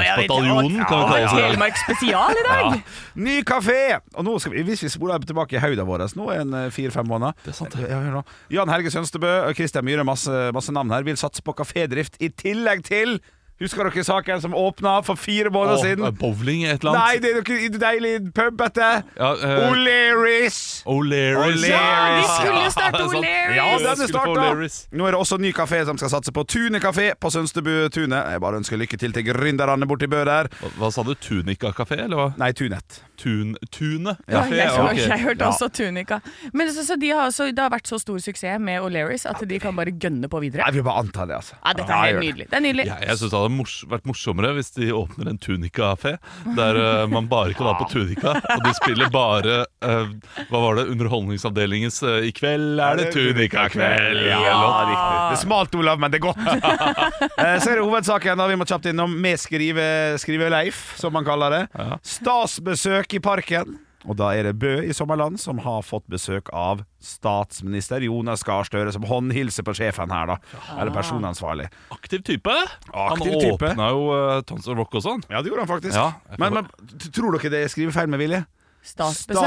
S7: Telemarksbataljonen, kan vi
S6: Å,
S7: kalle det.
S6: Telemark spesial i dag!
S8: Ny kafé! Og nå skal vi, hvis vi spoler tilbake i høyda vår nå er en eh, fire-fem måneder
S7: Det er sant, det.
S8: ja, hør nå. Jan Helge Sønstebø og Christian Myhre, masse, masse navn her, vil satse på kafédrift i tillegg til Husker dere saken som åpna for fire måneder
S7: Å,
S8: siden?
S7: Bowling, et eller
S8: Nei,
S7: annet.
S8: det er noe deilig pub, dette!
S7: Ja, eh,
S8: O'Learys!
S7: O'Learys.
S8: O'Learys. Ja,
S6: vi skulle
S7: Ja,
S6: starte
S7: det er sant.
S6: O'Learys.
S8: Ja,
S7: vi
S8: den er
S7: skulle få
S8: starta!
S7: O'Learys.
S8: Nå er det også en ny kafé som skal satse på Tune kafé på Sønstebu Tune. Jeg bare ønsker lykke til til gründerne borti Bø der.
S7: Hva, hva sa du? Tunika kafé, eller hva?
S8: Nei, Tunet.
S7: Tun, tune
S6: Ja,
S7: kafé?
S6: jeg, så,
S7: ok.
S6: jeg hørte
S8: Ja.
S6: også Tunika. Men så, så de har også, Det har vært så stor suksess med O'Learys at de kan bare gønne på videre.
S8: Jeg vil bare anta det, altså.
S6: Ja, dette
S8: Ja,
S6: er
S8: jeg gjør
S6: helt
S8: det.
S6: nydelig. Det er nydelig.
S7: Ja, jeg syns det hadde mors vært morsommere hvis de åpner en tunikakafé der eh, man bare kan ha på tunika, og de spiller bare eh, Hva var det? Underholdningsavdelingens eh, I kveld er det tunikakveld!
S8: Ja,
S7: eller noe.
S8: riktig. Det er smalt, Olav, men det er godt. Eh, Så er det hovedsaken, da vi må kjapt innom med skrive, skrive Leif, som man kaller det. Statsbesøk i parken. Og da er det Bø i Sommerland som har fått besøk av statsminister Jonas Gahr Støre, som håndhilser på sjefen her, da. Eller personansvarlig.
S7: Aktiv type.
S8: Aktiv
S7: han
S8: type.
S7: åpna jo uh, Tons of Rock og sånn.
S8: Ja, det gjorde han faktisk.
S7: Ja, jeg
S8: men, men t- tror dere det er skrivefeil med vilje?
S6: Statsbesøk.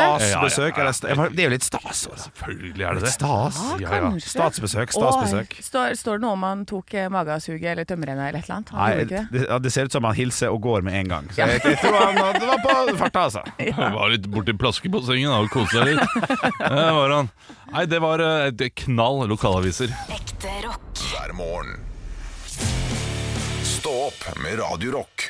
S7: Ja,
S8: Statsbesøk?
S7: ja, ja.
S8: eller sta- jeg bare- Det er jo litt stas. altså.
S7: Selvfølgelig er det
S8: Litt
S7: det.
S8: stas.
S6: Ja, kanskje.
S8: Statsbesøk,
S6: Åh,
S8: statsbesøk.
S6: Står, står det noe om han tok eh, magesuget eller tømmerrenna eller et eller annet? Han
S8: Nei,
S6: gjorde ikke det?
S8: det, ja, det ser ut som han hilser og går med en gang. Så jeg, jeg tror han det var på farta, altså.
S7: Han var litt borti plaskebassenget da, og koste seg litt. Det var han. Nei, det var eh, et knall lokalaviser.
S10: Ekte rock.
S5: hver morgen. Stå opp med Radio Rock.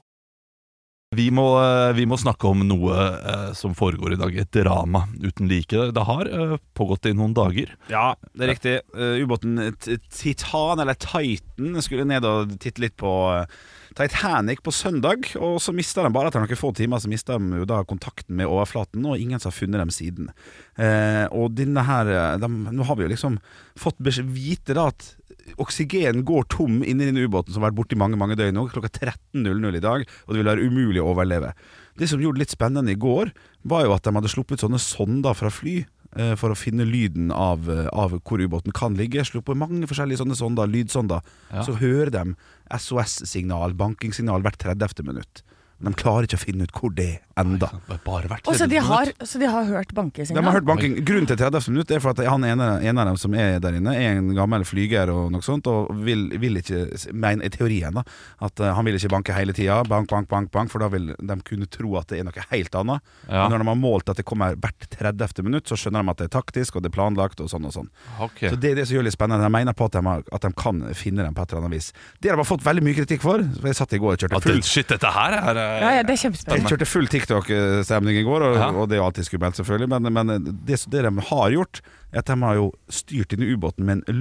S7: Vi må, eh, vi må snakke om noe eh, som foregår i dag. Et drama uten like. Det har eh, pågått i noen dager.
S8: Ja, det er riktig. Eh, ubåten T- Titan, eller Titan, skulle ned og titte litt på eh, Titanic på søndag, og så mista de bare etter noen få timer Så mistet de jo da kontakten med overflaten, og ingen som har funnet dem siden. Eh, og denne her eh, de, Nå har vi jo liksom fått besk- vite da at oksygen går tom inni denne ubåten som har vært borte i mange mange døgn nå, klokka 13.00 i dag, og det vil være umulig å overleve. Det som gjorde det litt spennende i går, var jo at de hadde sluppet sånne sonder fra fly. eh, For å finne lyden av, eh, av hvor ubåten kan ligge. Sluppet mange forskjellige sånne sonder, lydsonder. Så hører de SOS-signal, bankingsignal, hvert 30. minutt. Men de klarer ikke å finne ut hvor det er enda.
S7: Bare hvert
S6: Å, så, de
S7: tredje
S6: har,
S7: minutt.
S6: så de har hørt
S8: De
S6: bankesignal?
S8: har hørt banking. Grunnen til 30 minutt er for at han ene, en av dem som er der inne, er en gammel flyger og noe sånt, og vil, vil ikke mener i teorien da, at eh, han vil ikke banke hele tida. Bank, bank, bank, bank, for da vil de kunne tro at det er noe helt annet.
S7: Ja.
S8: Men når de har målt at det kommer hvert 30. minutt, så skjønner de at det er taktisk, og det er planlagt, og sånn og sånn.
S7: Ok.
S8: Så det er det som gjør det litt spennende. Jeg mener på at de, har, at de kan finne dem på et eller annet vis. Det har de fått veldig mye kritikk for. for Jeg satt i går og kjørte
S7: At det,
S8: full
S7: shit, dette her er eh,
S6: Ja, ja, det er
S8: Jeg
S6: kjempespennende.
S8: kjørte full TikTok-stemning i går, og, og det er jo alltid skummelt, selvfølgelig. Men, men det, det de har gjort, er at de har jo styrt inn i ubåten med en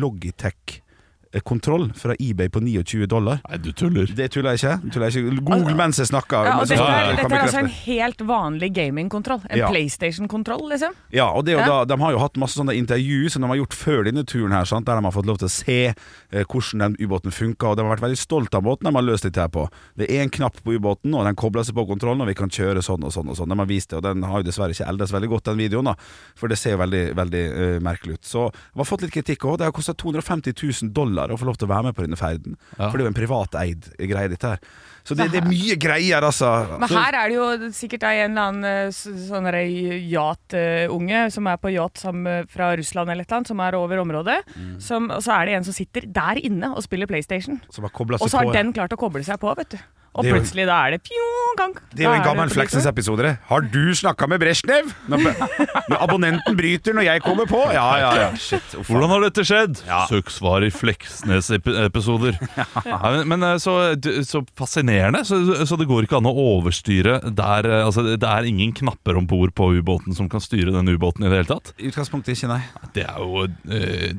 S8: Logitech-kontroll fra eBay på 29 dollar.
S7: Nei, du tuller.
S8: Det tuller jeg ikke. Tuller jeg ikke. Google mens jeg snakker.
S6: Ja, og
S8: mens jeg
S6: dette, er,
S8: snakker, kan
S6: dette er
S8: bekrefte.
S6: altså en helt vanlig gamingkontroll. En
S8: Ja.
S6: PlayStation-kontroll, liksom.
S8: Ja, og det er jo
S6: Ja.
S8: da, De har jo hatt masse sånne intervju som de har gjort før denne turen, her sant? der de har fått lov til å se eh, hvordan den ubåten funker. Og de har vært veldig stolt av båten de har løst dette her på. Det er en knapp på ubåten, og den kobler seg på kontrollen, og vi kan kjøre sånn og sånn. og sånn De har vist det, og den har jo dessverre ikke eldes veldig godt, den videoen, da for det ser jo veldig, veldig eh, merkelig ut. Så de har fått litt kritikk òg. Det har kosta 250 000 dollar å få lov til å være med på denne ferden. For det er jo en privateid greie, dette her. Så det, det er mye greier, altså.
S6: Men her er det jo sikkert ei en eller annen eh, s- sånn derre yacht-unge som er på yacht sammen med- fra Russland eller et eller annet, som er over området.
S8: Mm.
S6: Som, og så er det en som sitter der inne og spiller PlayStation.
S8: Som har koblet
S6: Og
S8: seg
S6: så har
S8: på.
S6: den klart å koble seg på, vet du. Og
S8: Det er jo-
S6: plutselig da er det pjong-gang.
S8: Det er jo en gammel Fleksnes-episode. det. Har du snakka med Brezjnev? Når, når abonnenten bryter når jeg kommer på? Ja, ja, ja. Shit, uff.
S7: Hvordan har dette skjedd? Søk svar i Fleksnes-episoder. men men eh, så, så fascinerende. Så, så det går ikke an å overstyre der eh, altså, Det er ingen knapper om bord på ubåten som kan styre den ubåten i det hele tatt.
S8: I utgangspunktet ikke, nei.
S7: Det er jo eh,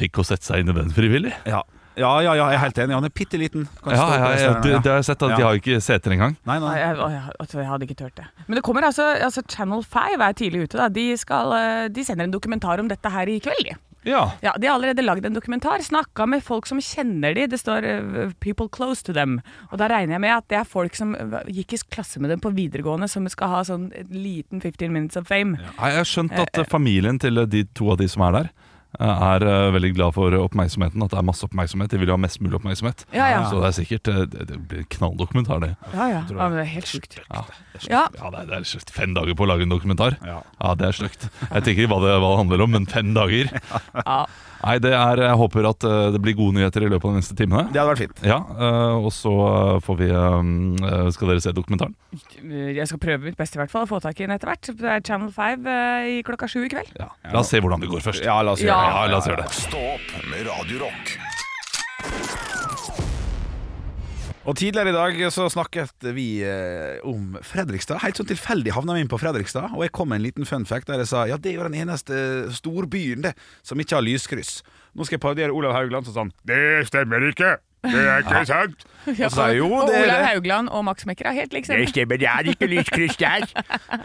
S7: Tenk å sette seg inn i den frivillig.
S8: Ja. ja, ja, ja, jeg er helt enig. Han er bitte liten.
S7: Ja, ja, ja, det, det har jeg sett at De har ikke seter engang.
S8: Nei,
S6: Nei,
S8: nei.
S6: jeg, å, jeg, å, jeg hadde ikke tørt det. Men det kommer altså, altså Channel 5 er tidlig ute. da De, skal, eh, de sender en dokumentar om dette her i kveld. de.
S7: Ja.
S6: Ja, De har allerede lagd en dokumentar. Snakka med folk som kjenner de. Det står eh, 'people close to them'. Og Da regner jeg med at det er folk som eh, gikk i klasse med dem på videregående, som skal ha sånn en liten 15 minutes of fame.
S7: Nei, Jeg har skjønt at eh, familien til eh, de to av de som er der, eh, er eh, veldig glad for eh, oppmerksomheten. At det er masse oppmerksomhet. De vil jo ha mest mulig oppmerksomhet.
S6: Ja, ja.
S7: Så det er sikkert eh, det, det blir knalldokumentar, det.
S6: Ja, ja. ja men det er helt sjukt.
S7: Ja,
S6: Ja.
S7: ja det, er, det er slutt. Fem dager på å lage en dokumentar.
S8: Ja.
S7: Ja, det er sløkt. Jeg tenker ikke hva det, hva det handler om, men fem dager.
S6: Ja.
S7: Nei, det er, Jeg håper at eh, det blir gode nyheter i løpet av de neste timene.
S8: Det hadde vært fint.
S7: Ja, eh, og så eh, får vi eh, eh, Skal dere se dokumentaren?
S6: Jeg skal prøve mitt beste i hvert fall å få tak i den etter hvert. Det er Channel 5 eh, i klokka sju i kveld.
S7: Ja. La oss se hvordan det går først.
S8: Ja, la oss gjøre det.
S7: Ja, la oss gjøre det.
S5: Stå opp med Radio Rock.
S8: Og tidligere i dag så snakket vi eh, om Fredrikstad. Helt sånn tilfeldig havna vi inn på Fredrikstad, og jeg kom med en liten fun fact der jeg sa ja, det er jo den eneste storbyen det som ikke har lyskryss. Nå skal jeg parodiere Olav Haugland som sånn Det stemmer ikke! Det er ikke sant! Og så sa jeg jo,
S6: og
S8: det er
S6: Olav
S8: det.
S6: Haugland og Max Mekker er helt like.
S8: Det stemmer, det er ikke lyskryss der,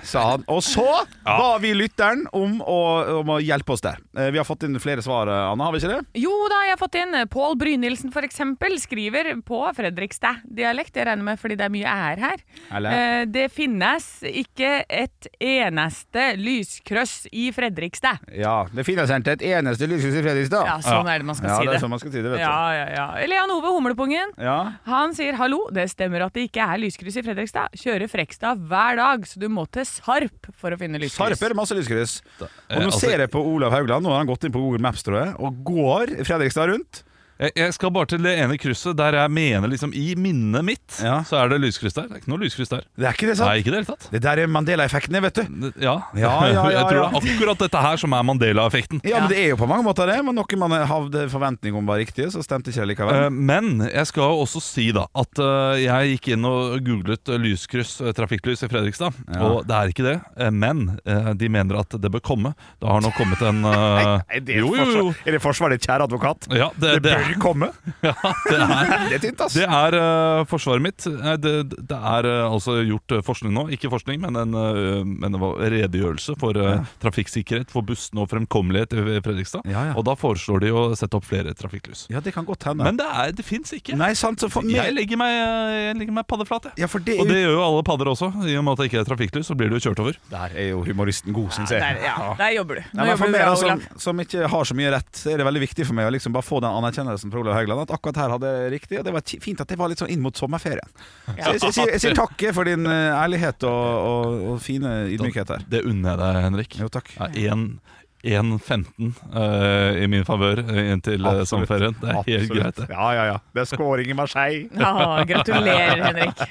S8: sa han. Og så ba vi lytteren om å, om å hjelpe oss der. Eh, Vi har fått inn flere svar, Anna, har vi ikke det?
S6: Jo da, jeg har fått inn Pål Brynildsen for eksempel skriver på Fredrikstad-dialekt, jeg regner med fordi det er mye ære her.
S8: Eller?
S6: Eh, det finnes ikke et eneste lyskrøss i Fredrikstad.
S8: Ja. Det finnes ikke et eneste lyskryss i Fredrikstad.
S6: Ja, sånn er det man skal
S8: Ja,
S6: si
S8: det
S6: det.
S8: er sånn man skal si det, vet du.
S6: Ja, ja, ja. Elian Ove Humlepungen.
S8: Ja.
S6: Han sier hallo, det stemmer at det ikke er lyskryss i Fredrikstad. Kjører Frekstad hver dag, så du må til Sarp for å finne lyskryss.
S8: Sarp er det masse lyskryss. Og
S7: eh,
S8: nå
S7: altså-
S8: ser jeg på Olav Haugland, nå har han gått inn på Google Maps, tror jeg, og går Fredrikstad rundt.
S7: Jeg, jeg skal bare til det ene krysset der jeg mener liksom i minnet mitt
S8: Ja.
S7: så er det lyskryss der. Det er ikke noe lyskryss der.
S8: Det er ikke det
S7: Nei,
S8: sant?
S7: ikke i det hele tatt.
S8: Det der er Mandela-effektene, vet du.
S7: Det- Ja.
S8: Ja, ja, ja,
S7: jeg tror
S8: ja.
S7: det er akkurat dette her som er Mandela-effekten.
S8: Ja, men det er jo på mange måter det, men noe man hadde forventning om var riktig, så stemte ikke det likevel.
S7: Eh, Men jeg skal jo også si da at eh, jeg gikk inn og googlet eh, lyskryss, eh, trafikklys i Fredrikstad. Og det er ikke det, eh, men eh, de mener at det bør komme. Det har nå kommet en eh,
S8: Nei, det er,
S7: Jo, jo, jo.
S8: forsvar- er det Forsvaret, kjære advokat?
S7: Ja, det, det,
S8: bør komme.
S7: det er
S8: Det er tynt, ass.
S7: Det er eh, forsvaret mitt. Nei, Det, det er eh, altså gjort eh, forskning nå. Ikke forskning, men en, eh, men det var redegjørelse for eh, trafikksikkerhet for bussene og fremkommelighet i Fredrikstad.
S8: Ja, ja.
S7: Og da foreslår de å sette opp flere trafikklys.
S8: Ja, det kan godt hende.
S7: Men det, er- det fins ikke.
S8: Nei, sant, så for,
S7: jeg, legger meg, eh, jeg legger meg paddeflat, jeg.
S8: ja, for det,
S7: Og det gjør jo alle padder også. I og med at det ikke er trafikklys, så blir du jo kjørt over.
S8: Der er jo humoristen god, syns jeg.
S6: Der, ja, der jobber du. Nå
S8: Nei, men for
S6: jobber du
S8: meg
S6: bra,
S8: da,
S6: Olav.
S8: som, som ikke har så mye rett, så er det veldig viktig for meg å liksom bare få den anerkjennelsen fra Olav Haugland at akkurat her hadde jeg riktig. Og det var ti- fint at det var litt sånn inn mot sommerferien. Så jeg, jeg, sier- jeg sier takk for din eh, ærlighet og, og, og fine ydmykhet her.
S7: Det unner jeg deg, Henrik.
S8: Jo, takk.
S7: Ja, en- 1.15 eh, i min favør eh, inntil eh,
S8: Absolutt.
S7: sommerferien. Det er helt
S8: Absolutt.
S7: greit, det.
S8: Ja, ja, ja. Det er scoring i Marseille.
S6: Ja, gratulerer, Henrik.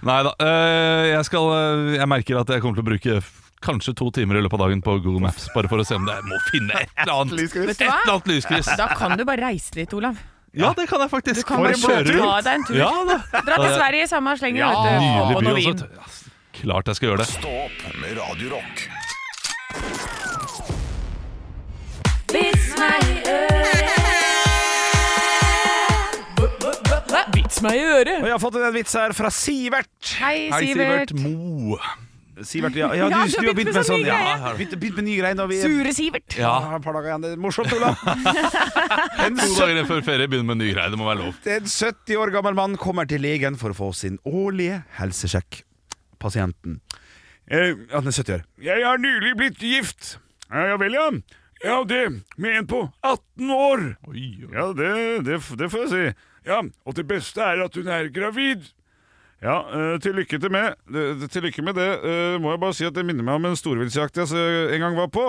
S7: Nei da. øh, jeg, skal, øh, jeg merker at jeg kommer til å bruke f- kanskje to timer i løpet av dagen på Google Maps, bare for å se om det- jeg må finne et eller annet
S8: Lyskryss.
S7: Et eller annet lyskryss.
S6: Da kan du bare reise dit, Olav.
S7: Ja, det kan jeg faktisk.
S6: Du kan bare ta deg en tur.
S7: Ja, da.
S6: Dra til Sverige i samme slengen.
S7: Ja,
S6: vet du.
S7: nydelig
S6: Og
S7: by
S6: noe
S7: også.
S6: vin.
S7: Ja, s- Klart jeg skal gjøre det.
S5: Stå opp med Radio Rock.
S6: Vits meg i øret.
S8: Og jeg har fått en vits her fra Sivert.
S6: Hei, Sivert.
S7: Mo.
S8: Sivert, ja, ja, du,
S6: Ja,
S8: du har begynt med
S6: sånn
S8: sånn
S6: ny
S8: ja,
S6: greie.
S8: har begynt, begynt med nye greier når vi
S6: Sure Sivert.
S7: Ja,
S8: har et par dager igjen. Det er morsomt, Olav. En
S7: To
S8: sø-
S7: dager før ferie begynner med en ny greie. Det må være lov.
S8: En 70 år gammel mann kommer til legen for å få sin årlige helsesjekk. Pasienten. Eh, han er 70 år. Jeg har nylig blitt gift. Ja, ja vel, ja. Ja, det med en på 18 år.
S7: Oi, oi.
S8: Ja, det, det, det får jeg si. Ja, og det beste er at hun er gravid. Ja, eh, til lykke til med det, til lykke med det eh, må jeg bare si at det minner meg om en storviltsjakt jeg så- en gang var på.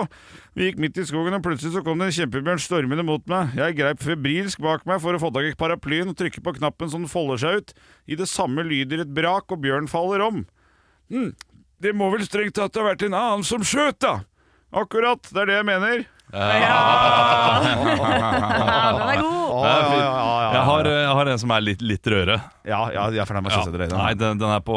S8: Vi gikk midt i skogen, og plutselig så kom det en kjempebjørn stormende mot meg. Jeg greip febrilsk bak meg for å få tak i paraplyen og trykke på knappen så den folder seg ut. I det samme lyder et brak, og bjørnen faller om. Hm, det må vel strengt tatt ha vært en annen som skjøt, da. Akkurat, det er det jeg mener.
S6: Ja, den er god.
S7: Det er fint. Jeg har, eh, jeg har en som er litt, litt røre.
S8: Ja, ja, ja for den var
S7: Ja.
S8: siste drøy.
S7: Nei, den, den er på,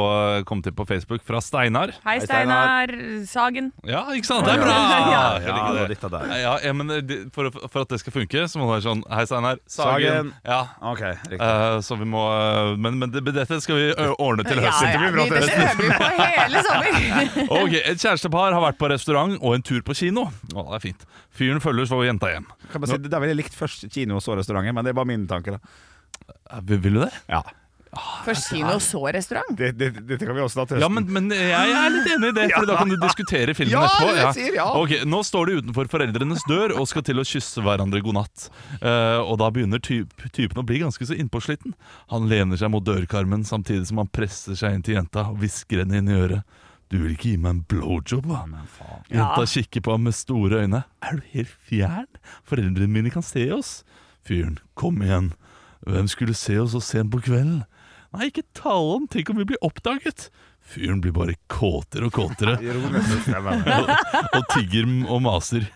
S7: kom til på Facebook fra Steinar.
S6: Hei, Steinar Sagen.
S7: Ja, ikke sant? Det er bra!
S6: Ja.
S7: Jeg liker det. Ja, ja, men det- for, for at det skal funke, så må det være sånn Hei, Steinar.
S8: Sagen.
S7: Ja.
S8: Ok, riktig.
S7: Eh, så vi må eh, Men, men det, dette skal vi ø, ordne til
S6: vi-
S7: høsten.
S6: Dette øver vi på hele sommer.
S7: Ok, Et kjærestepar har vært på restaurant og en tur på kino. Å, det er fint. Fyren følger så jenta hjem.
S8: kan bare si, det er veldig likt først kino og så restauranter, men det er bare mine tanker. da
S7: Eh, Vil vil du det?
S8: Ja,
S6: Først kino, så restaurant.
S8: det, det, Dette kan vi også ta til høsten.
S7: Ja, men, men jeg er litt enig i det, for da kan du diskutere filmen
S8: Ja,
S7: etterpå.
S8: jeg sier ja.
S7: Ok, Nå står de utenfor foreldrenes dør og skal til å kysse hverandre god natt. Eh, og da begynner typ, typen å bli ganske så innpåsliten. Han lener seg mot dørkarmen samtidig som han presser seg inn til jenta og hvisker henne inn i øret. Du vil ikke gi meg en blowjob, da? Jenta kikker på ham med store øyne. Er du helt fjern? Foreldrene mine kan se oss. Fyren, kom igjen. Hvem skulle se oss så sent på kvelden? Nei, ikke tale om. Tenk om vi blir oppdaget. Fyren blir bare kåtere og kåtere, og tigger og maser.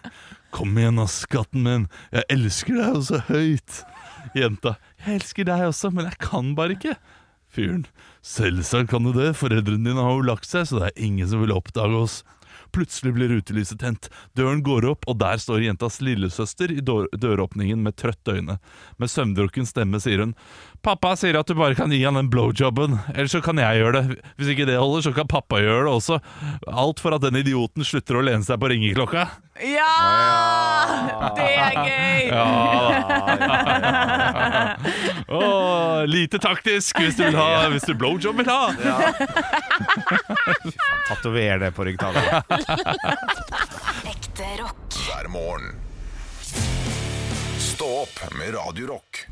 S7: Kom igjen, ass, skatten min. Jeg elsker deg jo så høyt. Jenta. Jeg elsker deg også, men jeg kan bare ikke. Fyren. Selvsagt kan du det. Foreldrene dine har jo lagt seg, så det er ingen som vil oppdage oss. Plutselig blir utelyset tent. Døren går opp, og der står jentas lillesøster i dør døråpningen med trøtte øyne. Med søvndrukken stemme sier hun Pappa sier at du bare kan gi han den blowjobben, ellers så kan jeg gjøre det. Hvis ikke det holder, så kan pappa gjøre det også. Alt for at den idioten slutter å lene seg på ringeklokka.
S6: Ja! Det er gøy.
S7: Åh, lite taktisk hvis du vil ha Hvis du blowjob vil ha.
S8: Tatover det på ryggtavla.
S10: Ekte rock.
S5: hver morgen. Stå opp med Radio Rock.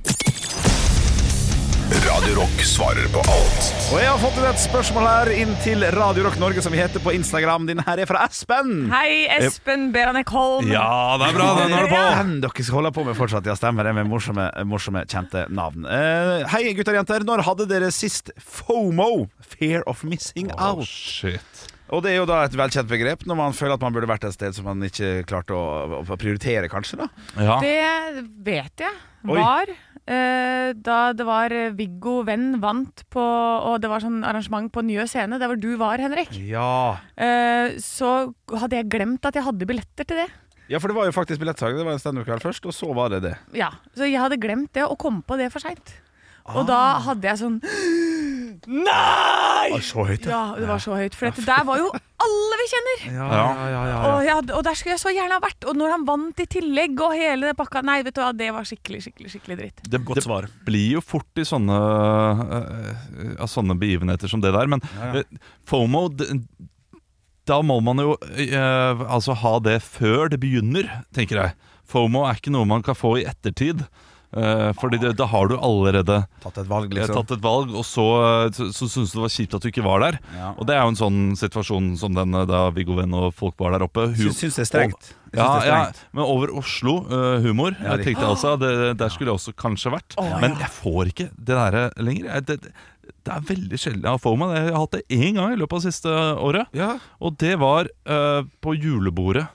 S5: Radio Rock svarer på alt
S8: Og jeg har fått inn et spørsmål her inn til Radio Rock Norge, som vi heter på Instagram. Din her er fra Espen.
S6: Hei, Espen Beranek Holm.
S7: Ja, det er bra. Den har du på.
S8: Den dere skal holde på med fortsatt, ja, stemmer det, med morsomme, morsomme kjente navn. Eh, hei, gutter og jenter. Når hadde dere sist FOMO? Fear of missing out.
S7: shit.
S8: Og det er jo da et velkjent begrep når man føler at man burde vært et sted som man ikke klarte å, å prioritere, kanskje. da
S7: Ja.
S6: Det vet jeg
S8: Oi.
S6: var eh, da det var eh, Viggo Venn vant på Og det var sånn arrangement på Njø scene, der hvor du var, Henrik.
S8: Ja,
S6: Eh, så hadde jeg glemt at jeg hadde billetter til det.
S8: ja for det var jo faktisk billettsalg. Det var en standup-kveld først, og så var det det.
S6: Ja, Så jeg hadde glemt det og kom på det for seint. Og da hadde jeg sånn Nei!
S8: så høyt,
S6: Ja, det var så høyt. For dette der var jo alle vi kjenner! Og, jeg hadde, og der skulle jeg så gjerne ha vært. Og når han vant i tillegg og hele den pakka Nei, vet du hva, det var skikkelig, skikkelig, skikkelig dritt.
S7: Det, det blir jo fort i sånne, eh, eh, sånne begivenheter som det der. Men eh, FOMO d- Da må man jo eh, altså ha det før det begynner, tenker jeg. FOMO er ikke noe man kan få i ettertid. Uh, fordi det, da har du allerede
S8: Tatt et valg,
S7: Jeg har
S8: liksom.
S7: tatt et valg, og så, så, så syntes du det var kjipt at du ikke var der.
S8: Ja.
S7: Og det er jo en sånn situasjon som den eh, da Viggo Venn og folk var der oppe. Hu-
S8: Syns, syns det er strengt.
S7: ja,
S8: Jeg syns det er
S7: ja,
S8: strengt.
S7: men over Oslo, eh, humor,
S8: Ja,
S7: jeg tenkte jeg altså. Det, der skulle jeg også kanskje vært. Men jeg får ikke det der eh, lenger. Jeg, det, det- det er veldig sjelden jeg får meg det. Jeg har hatt det én gang i løpet av siste året.
S8: Ja.
S7: Og det var eh, på julebordet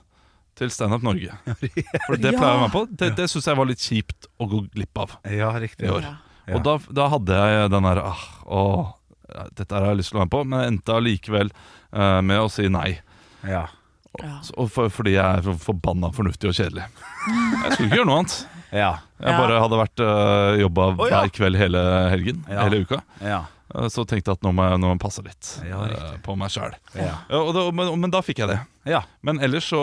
S7: til Standup Norge. For det pleier jeg å være på. Det, det syns jeg var litt kjipt å gå glipp av
S8: Ja, riktig.
S7: i år. Og da, da hadde jeg den der ah, åh, Dette her har jeg lyst til å være med på, men jeg endte allikevel eh, med å si nei.
S8: Ja.
S7: Så- Og for, fordi jeg er så forbanna fornuftig og kjedelig. Jeg skulle ikke gjøre noe annet.
S8: Ja.
S7: Jeg bare hadde vært øh, jobba
S8: Å, ja.
S7: hver kveld hele helgen,
S8: Ja.
S7: hele uka.
S8: Ja.
S7: Eh, Så tenkte jeg at nå må jeg, nå må jeg passe litt
S8: Ja,
S7: eh,
S8: riktig.
S7: på meg sjæl.
S8: Ja.
S7: men, men da fikk jeg det.
S8: ja.
S7: Men ellers så,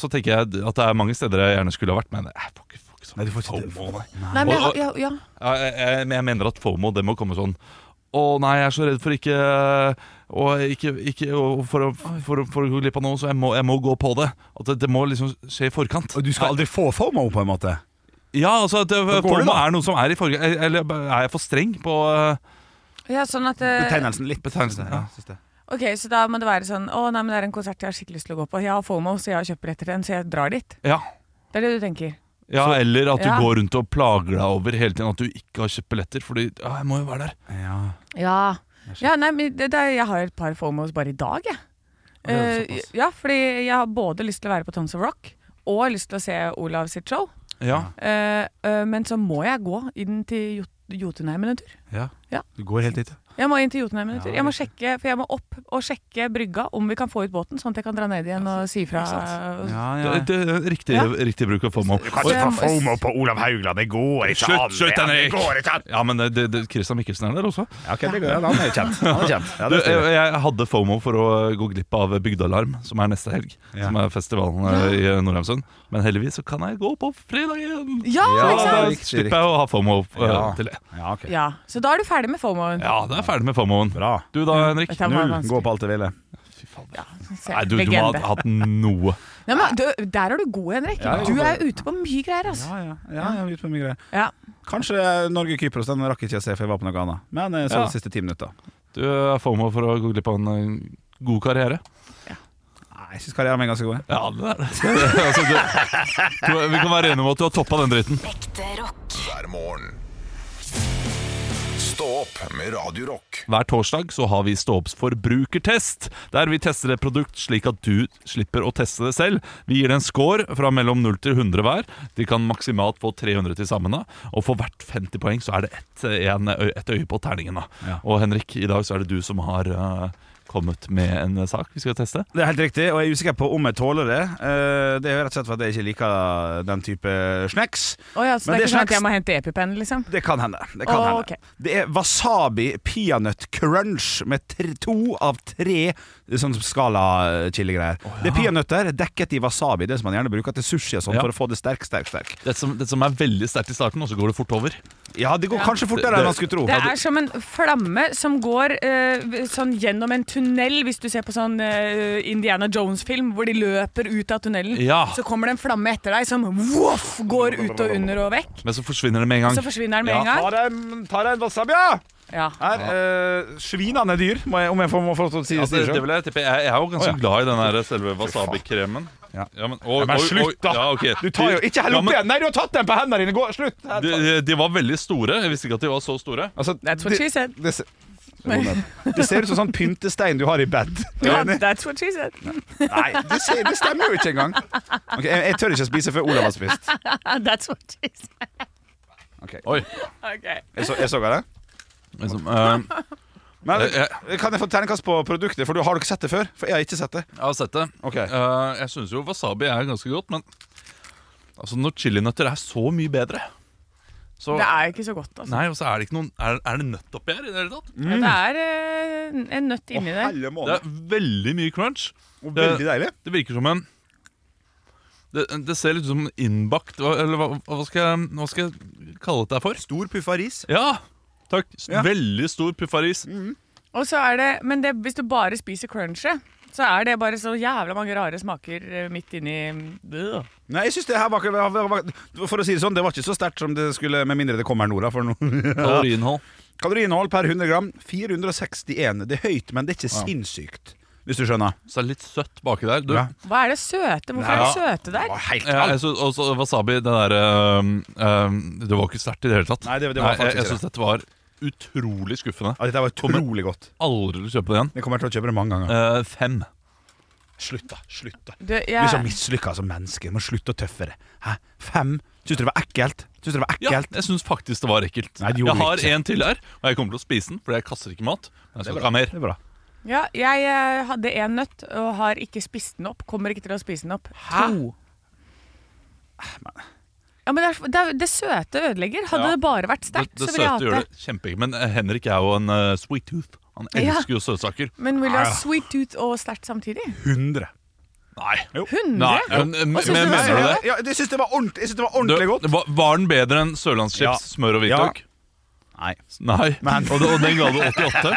S7: så tenker jeg at det er mange steder jeg gjerne skulle ha vært, men jeg får ikke, får ikke sånn
S8: Nei, du får ikke
S7: FOMO, nei.
S6: Nei, men jeg,
S7: Og-
S6: har- ja, ja.
S7: Ja, jeg, jeg, men jeg mener at FOMO, det må komme sånn Å nei, jeg er så redd for ikke Og ikke, ikke og for, å, for, å, for å gå glipp av noe, så jeg må, jeg må gå på det. At det, det må liksom skje i forkant.
S8: Og du skal aldri få FOMO, på en måte?
S7: Ja, altså at det,
S8: går det,
S7: FOMO
S8: da.
S7: er noe som er i forkant. Eller er jeg for streng på eh,
S6: ja, sånn at eh,
S8: Betegnelsen litt.
S7: Betegnelsen, ja.
S8: synes det.
S6: Ok, så da må det være sånn Å nei, men det er en konsert jeg har skikkelig lyst til å gå på. Jeg har FOMO, så jeg har kjøpt billetter til den, så jeg drar dit.
S7: Ja.
S6: Det er det du tenker.
S7: Ja, eller at du
S6: Ja.
S7: går rundt og plager deg over hele tiden at du ikke har kjøpt billetter. Fordi ja, jeg må jo være der.
S8: Ja.
S6: Ja. ja nei, men det, det, er- jeg har et par FOMOs bare i dag, jeg.
S8: Å, ja,
S6: Eh,
S8: såpass.
S6: ja, fordi jeg har både lyst til å være på Tons of Rock og lyst til å se Olav sitt show.
S7: Ja.
S6: Eh, eh, men så må jeg gå inn til Jot- Jotunheimen en tur.
S8: Du går helt dit.
S6: Jeg må inn til Jotunheimen en tur.
S8: Ja,
S6: Jeg må sjekke, for jeg må opp og sjekke brygga om vi kan få ut båten, sånn at jeg kan dra ned igjen og si fra.
S8: Ja, ja.
S7: Det, det, riktig,
S6: Ja.
S7: riktig bruk av FOMO.
S6: Så jeg må-
S9: på Olav Haugland, det går
S7: Slutt, slutt, Henrik! Ja, men det, det, Christian Mikkelsen er der også.
S8: Ja, ok, det går, ja, han er jo kjent. Han er kjent. Ja,
S7: Du,
S8: det
S7: jeg,
S8: stemmer.
S7: jeg hadde FOMO for å gå glipp av Bygdealarm, som er neste helg.
S8: Ja.
S7: Som er festivalen eh, i Nordheimsund. Men heldigvis så kan jeg gå på fredagen!
S6: Ja, ikke
S8: Ja,
S6: sant?
S8: det
S7: da
S8: er riktig,
S7: slipper jeg å ha FOMO eh,
S8: Ja.
S7: til det.
S8: Ja, ok.
S6: Ja, så da er du ferdig med FOMO-en.
S7: Ja, da er jeg ferdig med FOMO-en.
S8: Bra.
S7: Du da, Henrik?
S6: Dette var
S8: Null.
S6: vanskelig.
S8: Gå på alt det ville.
S6: Ja, se,
S7: Nei, du, du må
S6: legende.
S7: ha hatt noe.
S6: Nei, men, du, der er du god, Henrik.
S8: Ja, ja.
S6: Du er ute på mye greier, altså.
S8: Ja, ja. ja jeg har ut på mye greier.
S6: Ja.
S8: Kanskje Norge-Kypros. Den rakk ikke jeg se, for jeg var på noe annet. Men jeg så
S7: Ja.
S8: de siste ti minutter.
S7: Du har FOMO for å gå glipp av en eh, god karriere.
S8: Nei, jeg syns karrieren min er ganske god. jeg.
S7: Ja, det er det. altså, du, du, vi kan være enige om at du har toppa den dritten.
S5: hver morgen. Stå opp med Radio Rock.
S7: Hver torsdag så har vi Ståops forbrukertest, der vi tester et produkt slik at du slipper å teste det selv. Vi gir det en score fra mellom 0 til 100 hver. De kan maksimalt få 300 til sammen. da. Og for hvert 50 poeng så er det ett en øy- ett øye på terningen. da.
S8: Ja.
S7: Og Henrik, i dag så er det du som har eh, kommet med en eh, sak vi skal teste.
S8: Det er helt riktig, og jeg er usikker på om jeg tåler det. Eh, Det er rett og slett fordi jeg ikke liker den type snacks.
S6: Å ja, så det er
S8: Men det
S6: ikke sånn at
S8: slags-
S6: jeg må hente EpiPen, liksom?
S8: Det kan hende. Det, kan
S6: Å,
S8: hende.
S6: ok.
S8: det er wasabi peanøtt crunch med tre, to av tre sånn skala-chiligreier. Det er peanøtter dekket i wasabi, det som man gjerne bruker til sushi og sånn
S7: Ja.
S8: for å få det sterk, sterk, sterk.
S7: Det som, det som er veldig sterkt i starten, og så går det fort over.
S8: Ja, det går kanskje
S7: Det-
S8: fortere enn man
S7: det-
S8: skulle tro.
S6: Det er som en flamme som går eh, sånn gjennom en tunnel, hvis du ser på sånn eh, Indiana Jones-film hvor de løper ut av tunnelen.
S7: Ja.
S6: Så kommer det en flamme etter deg som voff, går ut og under og vekk.
S7: Men så forsvinner det med en gang.
S6: Så forsvinner den med
S8: Ja.
S6: en gang.
S8: Ta deg en- Ta deg en wasabi, ja!
S6: Ja.
S8: Her, eh, svinene er dyr, må jeg, om jeg får, må få lov til å si
S7: Ja,
S8: det
S7: det, Altså, det
S8: selv.
S7: vil jeg tippe. Jeg, jeg er jo ganske
S8: Å, ja.
S7: glad i den her selve wasabi-kremen.
S8: Ja.
S7: men, oi,
S8: Ja,
S7: oi,
S8: men
S7: oi.
S8: slutt, da!
S7: Ja, ok.
S8: Du tar jo Ikke hell
S7: Ja,
S8: opp
S7: men-
S8: igjen! Nei, du har tatt den på hendene dine! Gå, slutt! Her,
S7: De,
S8: ta-
S7: de, de var veldig store. Jeg visste ikke at de var så store.
S8: Altså,
S6: That's what
S8: det-
S6: she said.
S8: Det, ser- Ro ned. det ser ut som sånn pyntestein du har i bed. Er du
S6: Ja,
S8: enig?
S6: that's what she said.
S8: Nei, det, ser, det stemmer jo ikke engang. Ok, jeg, jeg tør ikke spise før Olav har spist.
S6: That's what she said.
S8: Ok,
S7: Oi.
S6: Ok.
S8: Jeg så, jeg så det.
S7: Liksom, eh,
S8: Men
S7: jeg, jeg,
S8: kan jeg få terningkast på produktet? For du Har dere sett det før? For jeg har ikke sett det.
S7: jeg har sett det.
S8: Ok.
S7: Eh, jeg syns jo wasabi er ganske godt, men altså, når chilinøtter er så mye bedre så,
S6: Det er ikke så godt, altså.
S7: Nei, og så er det ikke noen Er, er det nøtt oppi her i det hele tatt?
S8: Mm.
S6: Ja, det er eh, en nøtt inni der.
S8: Helle
S7: Det
S8: måned.
S7: er veldig mye crunch.
S8: Og Veldig deilig.
S7: Det virker som en det, det ser litt ut som en innbakt hva- Eller hva, hva, skal jeg, hva skal jeg kalle det for?
S8: Stor puff av ris.
S7: Ja! Takk. S-
S8: Ja.
S7: Veldig stor puffaris.
S6: Og så er det, men det, hvis du bare spiser crunchet, så er det bare så jævla mange rare smaker eh, midt inni øh.
S8: Nei, jeg synes det her var, ikke- var- var For å si det sånn, det var ikke så sterkt som det skulle, med mindre det kommer her nord. da, For nå.
S7: Kaloriinnhold.
S8: Kaloriinnhold per 100 gram 461. Det er høyt, men det er ikke sinnssykt. Hvis du skjønner.
S7: Så er det litt søtt baki der. Du,
S8: Ja.
S6: Hva er det søte? Hvorfor er det søte der?
S8: Å, helt
S7: Ja,
S8: alt.
S7: jeg synes, også wasabi, det der øhm, øhm, Det var ikke sterkt i det hele tatt.
S8: Nei, det- det var faktisk
S7: jeg, jeg
S8: ikke
S7: syns dette var utrolig skuffende.
S8: Ja, dette var utrolig godt.
S7: Aldri vil kjøpe det igjen.
S8: Jeg kommer til å kjøpe det mange ganger.
S7: Eh, fem.
S8: Slutt, da. Slutt, da.
S6: Du,
S8: Du er
S6: jeg,
S8: så mislykka som menneske. Du må slutte å tøffe det. Hæ? Fem? Syns du det var ekkelt? Syns du det var
S7: Ja,
S8: ekkelt?
S7: jeg syns faktisk det var ekkelt.
S8: Nei, det gjorde
S7: jeg har
S8: det ikke.
S7: en til her, og jeg kommer til å spise den, for jeg kaster ikke mat. Men jeg
S8: Det er
S7: skal
S8: bra.
S7: ikke ha mer.
S8: Det er bra.
S6: ja, jeg eh, hadde én nøtt og har ikke spist den opp. Kommer ikke til å spise den opp. To. Ja, men det, er, det, er, det søte ødelegger. Hadde
S7: Ja.
S6: det bare vært
S7: Det,
S6: sterkt,
S7: det
S6: så ville
S7: søte
S6: jeg
S7: gjør
S6: hatt det.
S7: det kjempegøy. Men eh, Henrik er jo en eh, sweet tooth. Han
S6: Ja.
S7: elsker jo søtsaker.
S6: Men vil du ha
S7: Ah.
S6: sweet tooth og sterkt samtidig?
S8: 100.
S7: Nei. Nei.
S6: 100?
S7: Men, men,
S6: Hva synes du
S7: mener du det?
S8: Ja, jeg syns det var ordentlig, jeg synes det var
S7: Du,
S8: ordentlig godt.
S7: var, var den bedre enn sørlandschips,
S8: Ja.
S7: smør og hvitløk?
S8: Nei.
S7: Nei.
S8: Men-
S7: Og, det- og den ga du 88?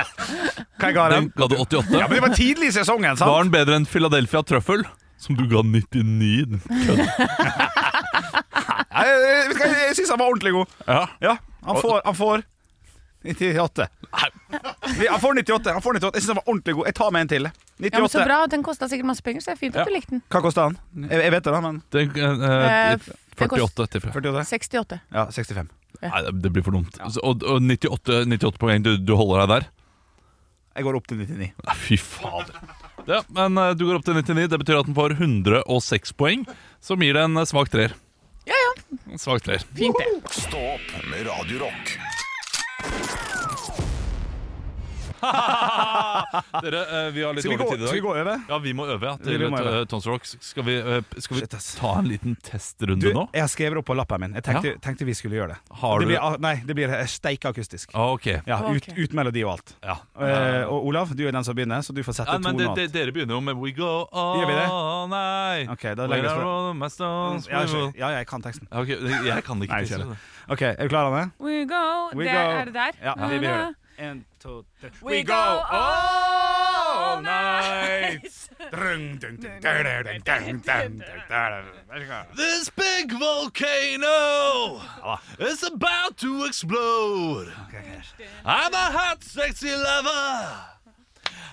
S8: Hva jeg ga
S7: Den
S8: den?
S7: ga du 88.
S8: Ja, men det var tidlig i sesongen, sant?
S7: Var den bedre enn Philadelphia trøffel? Som du ga 99? din Kødd.
S8: Nei, jeg vet ikke, jeg syns han var ordentlig god.
S7: Ja.
S8: Ja, han får, han får 98. Vi- Han får 98. han får 98 Jeg syns han var ordentlig god. Jeg tar med en til.
S6: Ja, men så
S8: 98.
S6: bra. Den kosta sikkert masse penger, så det er fint at
S7: Ja.
S6: du likte den.
S8: Hva kosta han? Jeg, jeg vet det, da, men
S7: Den, eh,
S6: Eh, det kost-
S7: 48 tipper jeg.
S8: 48?
S6: 68.
S8: Ja, 65.
S7: Nei, det- det blir for dumt. Så- Og, og 98, 98 poeng, du, du holder deg der?
S8: Jeg går opp til 99.
S7: Nei, Fy fader. Ja, men eh, du går opp til 99. Det betyr at den får 106 poeng, som gir deg en eh, svak treer.
S6: Ja, ja.
S7: En svak treer.
S6: Fint, det.
S5: Stå opp med Radio Rock.
S7: Dere, eh, vi har litt
S8: Skal vi
S7: dårlig
S8: gå,
S7: tid i
S8: skal vi
S7: dag.
S8: gå over?
S7: Ja, vi må øve ja,
S8: Vi
S7: til
S8: må
S7: et,
S8: øve.
S7: eh, Tons Rocks. Skal vi, eh, skal vi
S8: Shit, ass.
S7: ta en liten testrunde
S8: Du, eh,
S7: nå?
S8: jeg har skrevet opp på lappen min. Jeg tenkte, tenkte vi skulle gjøre det.
S7: Har
S8: det
S7: du-
S8: blir, ah, nei, det blir eh, steike akustisk.
S7: Ah, ok.
S8: Ja, ut,
S6: Ok.
S8: ut melodi og alt.
S7: Ja.
S8: Eh, og Olav, du er den som begynner, så du får sette
S7: Ja, men det,
S8: tonen.
S7: det, dere begynner jo med We go on
S8: Gjør vi det?
S7: night.
S8: Ok, da legger jeg
S7: Where
S8: fra-
S7: are all my stones?
S8: Ja,
S7: We will-
S8: ja, jeg kan teksten.
S7: Ja, ok, jeg kan ikke
S8: Nei,
S7: tisse.
S8: ikke det. OK, er du klar, Anne?
S6: We go.
S8: We
S6: det,
S8: go.
S6: Er det der?
S8: Ja, vi- vi gjør det. En, to, tre. We go all night! Drung, dung, dung, dung, dung, dung, dung, dung, dung.
S7: This big volcano is about to explode. I'm a hot, sexy lover.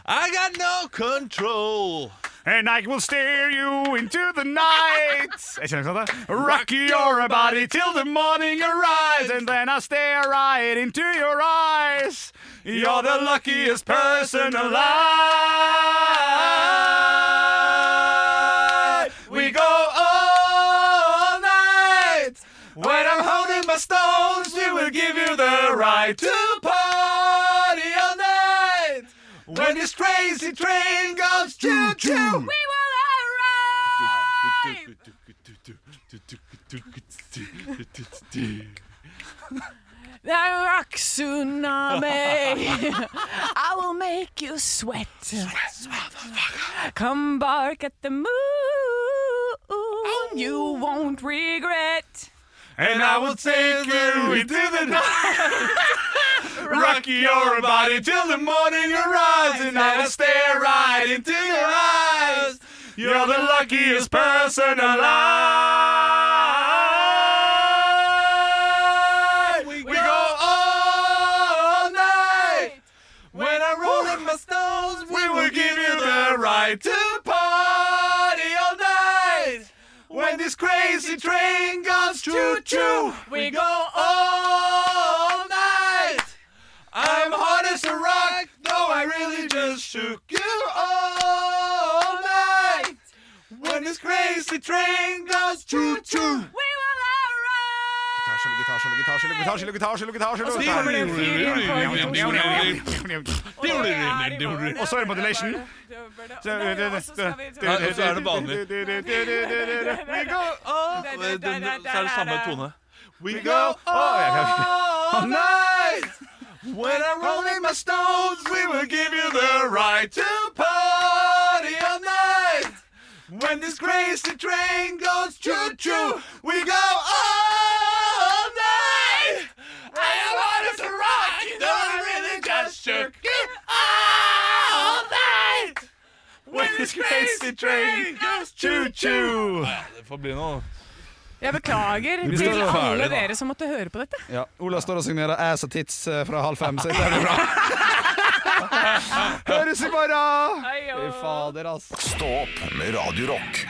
S7: I got no control.
S8: And I will steer you into the night. Jeg kjenner ikke sant det? Rock your body till the morning arrives, and then I stare right into your eyes. You're the luckiest person alive. We go all night. When I'm holding my stones, we will give you the right to party all night. When this crazy train goes choo choo.
S6: The rock tsunami. I will make you sweat. Come bark at the moon. You won't regret.
S8: And I will take you into the night. Rock your body till the morning arrives, and I'll stare right into your eyes. You're the luckiest person alive. We go all night. When I roll in my stones, we will give you the right to party all night. When this crazy train goes choo choo, we go all night. I'm hard as a rock, though I really just shook you all night. When this crazy train goes choo choo.
S6: We will arrive.
S8: Altså, Og så er det modulation.
S6: Og så skal vi-
S7: Ja, og så er det vanlig. Så er det samme tone.
S8: We go all night. When I roll in my stones, we will give you the right to party all night. When this crazy train goes choo-choo, we go all night. I am hard as a rock, you know I really just shook you all night. When this crazy train goes choo-choo.
S7: Det får bli noe.
S6: Jeg beklager til
S8: står ferdig,
S6: alle
S7: da.
S6: dere som måtte høre på dette.
S8: Ja, Ola står og signerer ass og tits eh, fra halv fem, så det blir bra. Høres i morgen! Fy fader, altså.
S5: Stå opp med Radio Rock.